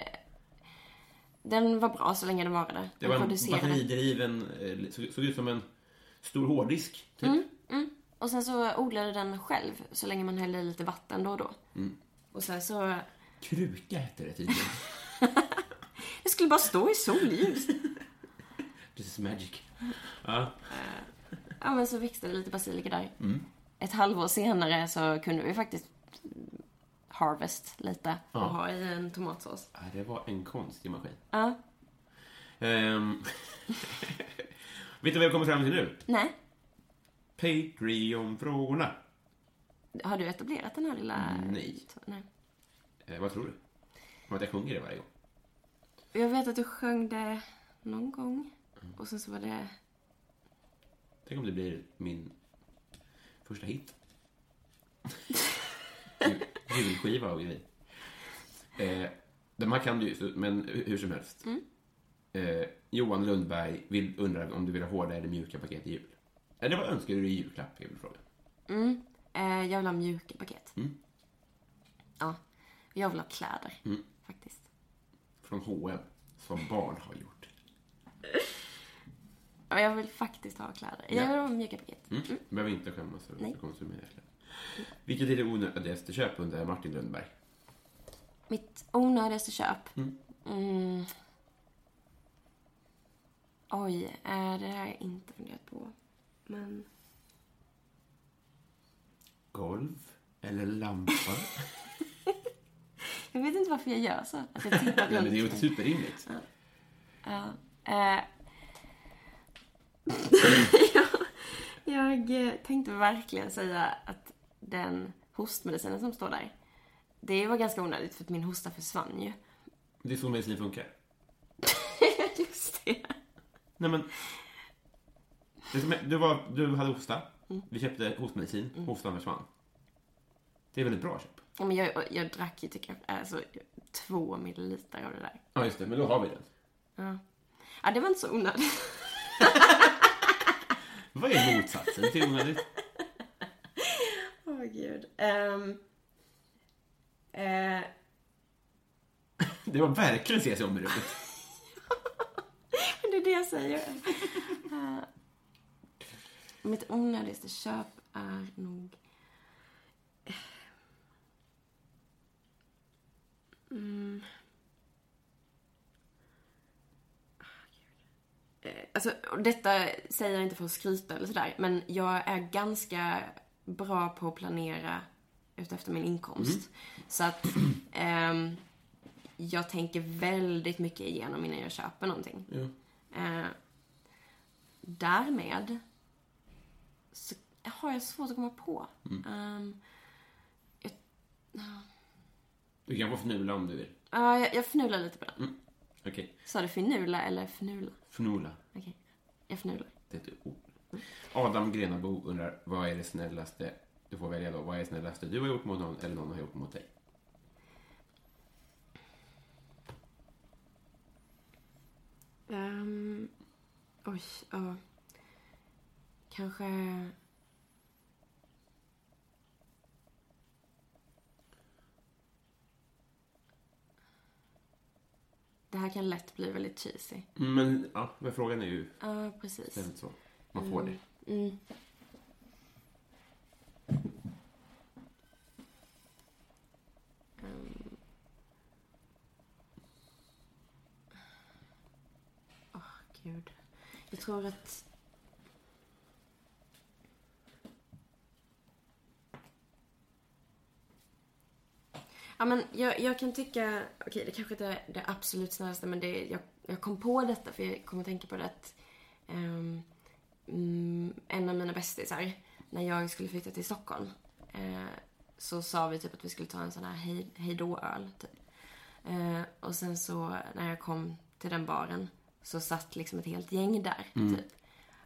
B: Den var bra så länge den varade. Den
A: Det var en
B: producerade.
A: batteridriven, eh, såg, såg ut som en stor hårddisk, typ.
B: Och sen så odlade den själv så länge man hällde i lite vatten då och då.
A: Mm.
B: Och sen så...
A: Kruka hette det tydligen.
B: Det skulle bara stå i solljus.
A: This is magic. Ja.
B: ja, men så växte det lite basilika där.
A: Mm.
B: Ett halvår senare så kunde vi faktiskt harvest lite och
A: Ja.
B: ha i en tomatsås.
A: Ja, Det var en konstig maskin.
B: Ja.
A: Ehm, Vet du vad jag kommer fram till nu?
B: Nej.
A: Patreon-frågorna.
B: Har du etablerat den här lilla...
A: Nej.
B: Nej.
A: Eh, vad tror du? Om att jag sjunger det varje gång?
B: Jag vet att du sjöng det någon gång. Och sen så var det...
A: Tänk om det blir min första hit. Jul- Julskiva och grejer. Eh, de här kan du ju, så- men hu- hur som helst. Eh, Johan Lundberg vill, undrar om du vill ha hårda eller mjuka paket i jul. Eller vad önskar du i julklapp? Är väl frågan.
B: Eh, jag vill ha mjuka paket.
A: Mm.
B: Ja. Jag vill ha kläder. Faktiskt.
A: Från H&M som barn har gjort.
B: Ja, jag vill faktiskt ha kläder. Jag
A: Ja.
B: vill ha mjuka paket.
A: Mm. Behöver inte skämmas över att
B: Nej.
A: du konsumerar kläder. Vilket är det onödigaste köp undrar Martin Lundberg.
B: Mitt onödigaste köp? Mm. Oj, eh, det här har jag inte funderat på. Men
A: Golv eller lampa?
B: jag vet inte varför jag gör så. Att jag tittar
A: Nej, men det är ju
B: runt.
A: superrimligt.
B: Eh, jag, jag eh, tänkte verkligen säga att den hostmedicinen som står där, det var ganska onödigt för att min hosta försvann ju.
A: Det är så medicin funkar.
B: Just det.
A: Nej men. Det som är, du, var, du hade hosta. Vi köpte hostmedicin. Hostan försvann. Det är väldigt bra köp.
B: Ja, Men jag, jag drack ju tycker jag, alltså, två milliliter av det där.
A: Ja, just det. Men då har vi den.
B: Ja, det var inte så onödigt.
A: Vad är motsatsen till onödigt?
B: Åh oh, gud. Ehm, eh,
A: Det var verkligen ses om i rummet.
B: det är det jag säger. Eh, mitt onödigaste köp är nog... eh, Mm. Eh, Alltså, och detta säger jag inte för att skryta eller sådär, men jag är ganska bra på att planera utefter min inkomst. Så att ehm, jag tänker väldigt mycket igenom innan jag köper någonting.
A: Ja.
B: Eh, därmed så har jag svårt att komma på. Ehm,
A: Du kan få fnula om du vill.
B: ja, jag, jag fnular lite på den.
A: Okej.
B: Sa du finula eller fnula?
A: Fnula.
B: Okej, jag fnular.
A: Det är ett ord. Adam Grenabo undrar, vad är det snällaste... Du får välja då. Vad är det snällaste du har gjort mot någon eller någon har gjort mot dig?
B: Ehm, oj, ja. Kanske... Det här kan lätt bli väldigt cheesy.
A: Mm, Men, ja, men frågan är ju
B: Ja, precis.
A: väldigt så. Man får det.
B: Mm. Um. Gud. Jag tror att... Ja, men jag, jag kan tycka... Okej, det kanske inte är det absolut snällaste, men det, jag, jag kom på detta för jag kom att tänka på det att ehm, mm, en av mina bästisar, när jag skulle flytta till Stockholm, eh, så sa vi typ att vi skulle ta en sån här hej, hejdå-öl, typ. Eh, och sen så när jag kom till den baren så satt liksom ett helt gäng där. Typ.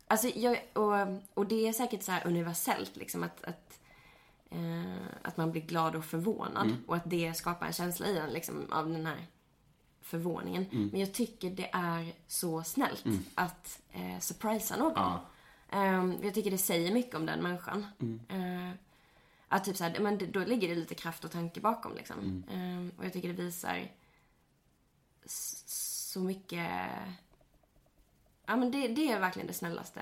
B: Alltså, jag, och, och det är säkert så här universellt liksom att, att, eh, att man blir glad och förvånad. Och att det skapar en känsla i en liksom, av den här förvåningen.
A: Mm.
B: Men jag tycker det är så snällt att eh, surprisa någon.
A: Ja. Mm.
B: Ehm, jag tycker det säger mycket om den människan. Eh, att typ så här, men det- då ligger det lite kraft och tanke bakom liksom.
A: Mm.
B: Ehm, och jag tycker det visar s- så mycket... Ja men det, det är verkligen det snällaste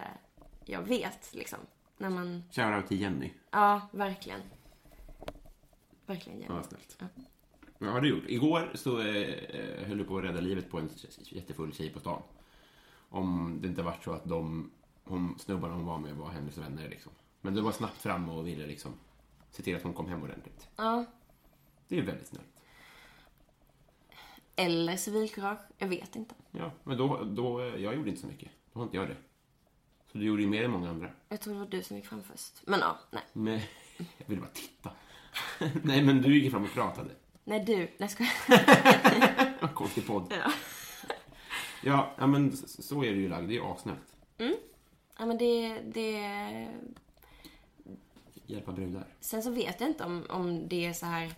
B: jag vet liksom. När man,
A: Shoutout till Jenny.
B: ja verkligen. Verkligen
A: Ja,
B: Jenny.
A: vad snällt. Ja, har du gjort. Igår så eh, höll du på att rädda livet på en jättefull tjej på stan. Om det inte varit så att de hon, snubbarna hon var med var hennes vänner. Liksom. Men du var snabbt fram och ville liksom, se till att hon kom hem ordentligt.
B: Ja.
A: Det är väldigt snällt.
B: Eller civilkurage, jag vet inte.
A: Ja, men då, då, eh, jag gjorde inte så mycket. Då har inte jag det. Så du gjorde ju mer än många andra.
B: Jag tror det var du som gick fram först. Men ja, nej.
A: Men, jag ville bara titta. Nej, men du gick ju fram och pratade.
B: Nej du, nej ska
A: Vad Konstig podd.
B: Ja.
A: Ja, ja, men s- så är det ju lagd. Det är ju asnällt.
B: Ja men det, det
A: Hjälpa brudar.
B: Sen så vet jag inte om, om det är så här...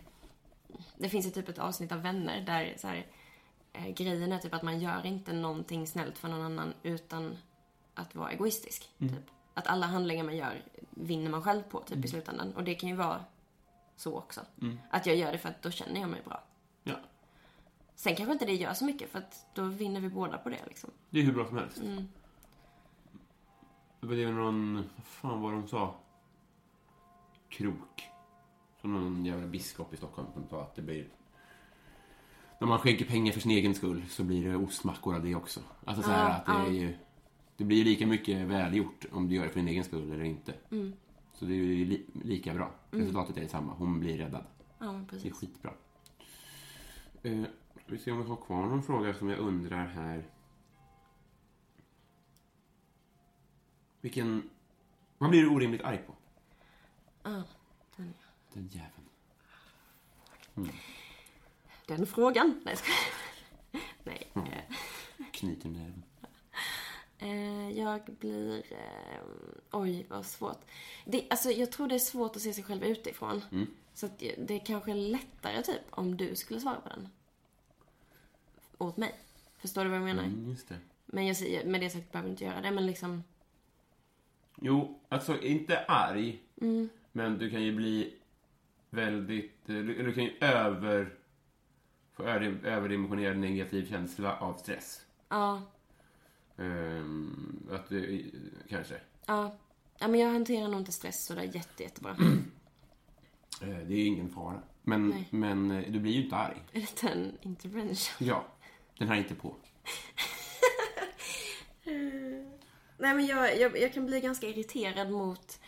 B: Det finns ju typ ett avsnitt av Vänner där så här, eh, grejen är typ att man gör inte någonting snällt för någon annan utan att vara egoistisk. Typ. Att alla handlingar man gör vinner man själv på typ i slutändan. Och det kan ju vara så också. Att jag gör det för att då känner jag mig bra.
A: Ja,
B: Sen kanske inte det gör så mycket för att då vinner vi båda på det liksom.
A: det är hur bra som helst. Men Det är någon, vad fan var de sa? Krok. Som någon jävla biskop i Stockholm som sa att det blir... När man skänker pengar för sin egen skull så blir det ostmackor av det också. Alltså så här att det är ju... Det blir ju lika mycket välgjort om du gör det för din egen skull eller inte. Så det är ju li, lika bra. Resultatet är detsamma. Hon blir räddad.
B: Ja, men
A: Det är
B: precis.
A: skitbra. Eh, vi ser om vi har kvar någon fråga som jag undrar här. Vilken... Vad blir du orimligt arg på?
B: Ja, den,
A: Den jäveln.
B: den frågan. Nej, jag skojar. Nej. eh,
A: Knyter nerven.
B: Eh, jag blir... Eh, oj, vad svårt. Det, alltså, jag tror det är svårt att se sig själv utifrån. Så att jag- det är kanske är lättare typ om du skulle svara på den. Åt mig. Förstår du vad jag menar?
A: Mm, just det.
B: Men jag säger, med det sagt behöver du inte göra det. Men liksom,
A: Jo, alltså inte arg. Men du kan ju bli väldigt... eh, Du, du kan ju över... Få över- överdimensionerad negativ känsla av stress.
B: ja.
A: Ehm, att du... Kanske.
B: Ja. Ja, men jag hanterar nog inte stress sådär jätte, jättebra.
A: Eh, Det är ingen fara. Men,
B: Nej.
A: men eh, du blir ju inte arg.
B: Är det en intervention?
A: Ja, den här är inte på.
B: Nej men jag, jag, jag kan bli ganska irriterad mot,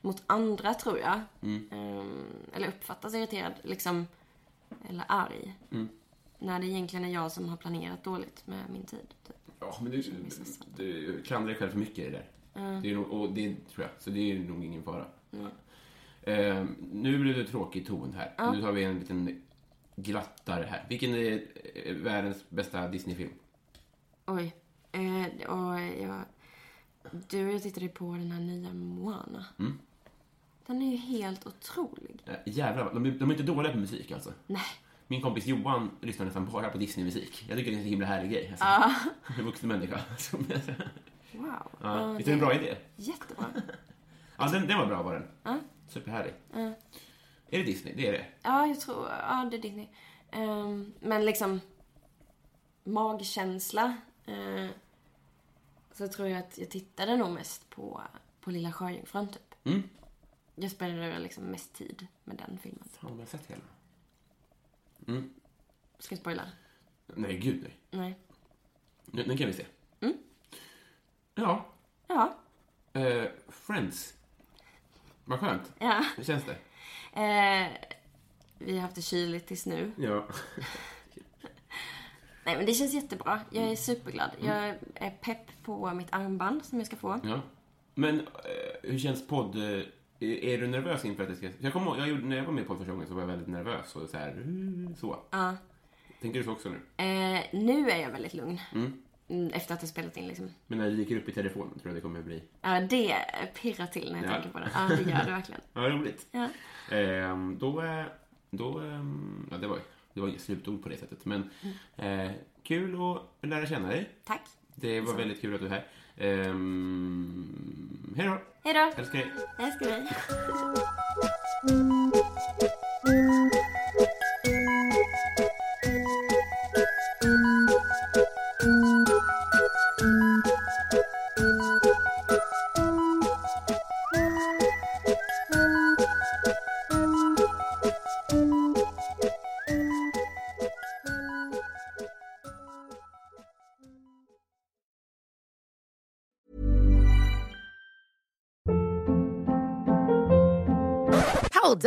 B: mot andra tror jag.
A: Mm.
B: Ehm, eller uppfattas irriterad, liksom. Eller arg.
A: Mm.
B: När det egentligen är jag som har planerat dåligt med min tid. Typ.
A: Ja, men du, du klandrar dig själv för mycket i det där. Det är nog, och det tror jag, så det är nog ingen fara. Eh, nu blev det tråkig ton här. Nu tar vi en liten glattare här. Vilken är eh, världens bästa Disney-film?
B: Oj. Eh, och jag, du och jag tittade på den här nya Moana.
A: Mm.
B: Den är ju helt otrolig.
A: Eh, jävlar, de, de är inte dåliga på musik alltså.
B: Nej.
A: Min kompis Johan lyssnar nästan bara på Disney-musik. Jag tycker det är en så himla härlig grej. Alltså. En vuxen människa. Som,
B: Wow.
A: ja.
B: Ja,
A: Visst är det en bra idé?
B: Jättebra.
A: Ja, den, den var bra var den. Superhärlig. Är det Disney? Det är det.
B: Ja, jag tror... Ja, det är Disney. Ehm, men liksom... Magkänsla. eh, så tror jag att jag tittade nog mest på, på Lilla Sjöjungfrun, typ.
A: Mm.
B: Jag spenderade liksom mest tid med den filmen.
A: Fan, har jag sett hela?
B: Ska jag spoila?
A: Nej, gud nej.
B: Nej.
A: Nu, nu kan vi se.
B: Mm.
A: Ja.
B: Ja.
A: Eh, Friends. Vad skönt.
B: Ja.
A: Hur känns det?
B: Eh, vi har haft det kyligt tills nu.
A: Ja.
B: Nej, men det känns jättebra. Jag är superglad. Jag är pepp på mitt armband som jag ska få.
A: ja. Men eh, hur känns podd... eh, Är du nervös inför att det ska... Jag kommer ihåg, jag gjorde, när jag var med på första gången så var jag väldigt nervös och så här... eh, Så.
B: Ja.
A: Tänker du så också nu?
B: Eh, nu är jag väldigt lugn. Mm, Efter att ha spelat in liksom.
A: Men när det gick upp i telefonen tror jag det kommer bli...
B: Ja, det pirrar till när jag
A: Ja.
B: tänker på det. Ja, det gör det verkligen.
A: Ja, roligt.
B: Ja.
A: Ehm, då, eh, då, ehm, ja, det var det var inget slutord på det sättet, men eh, kul att lära känna dig.
B: Tack.
A: Det var väldigt kul att du är här. Ehm, hej då!
B: Hej då.
A: Älskar dig!
B: Jag ska vi.
D: Hold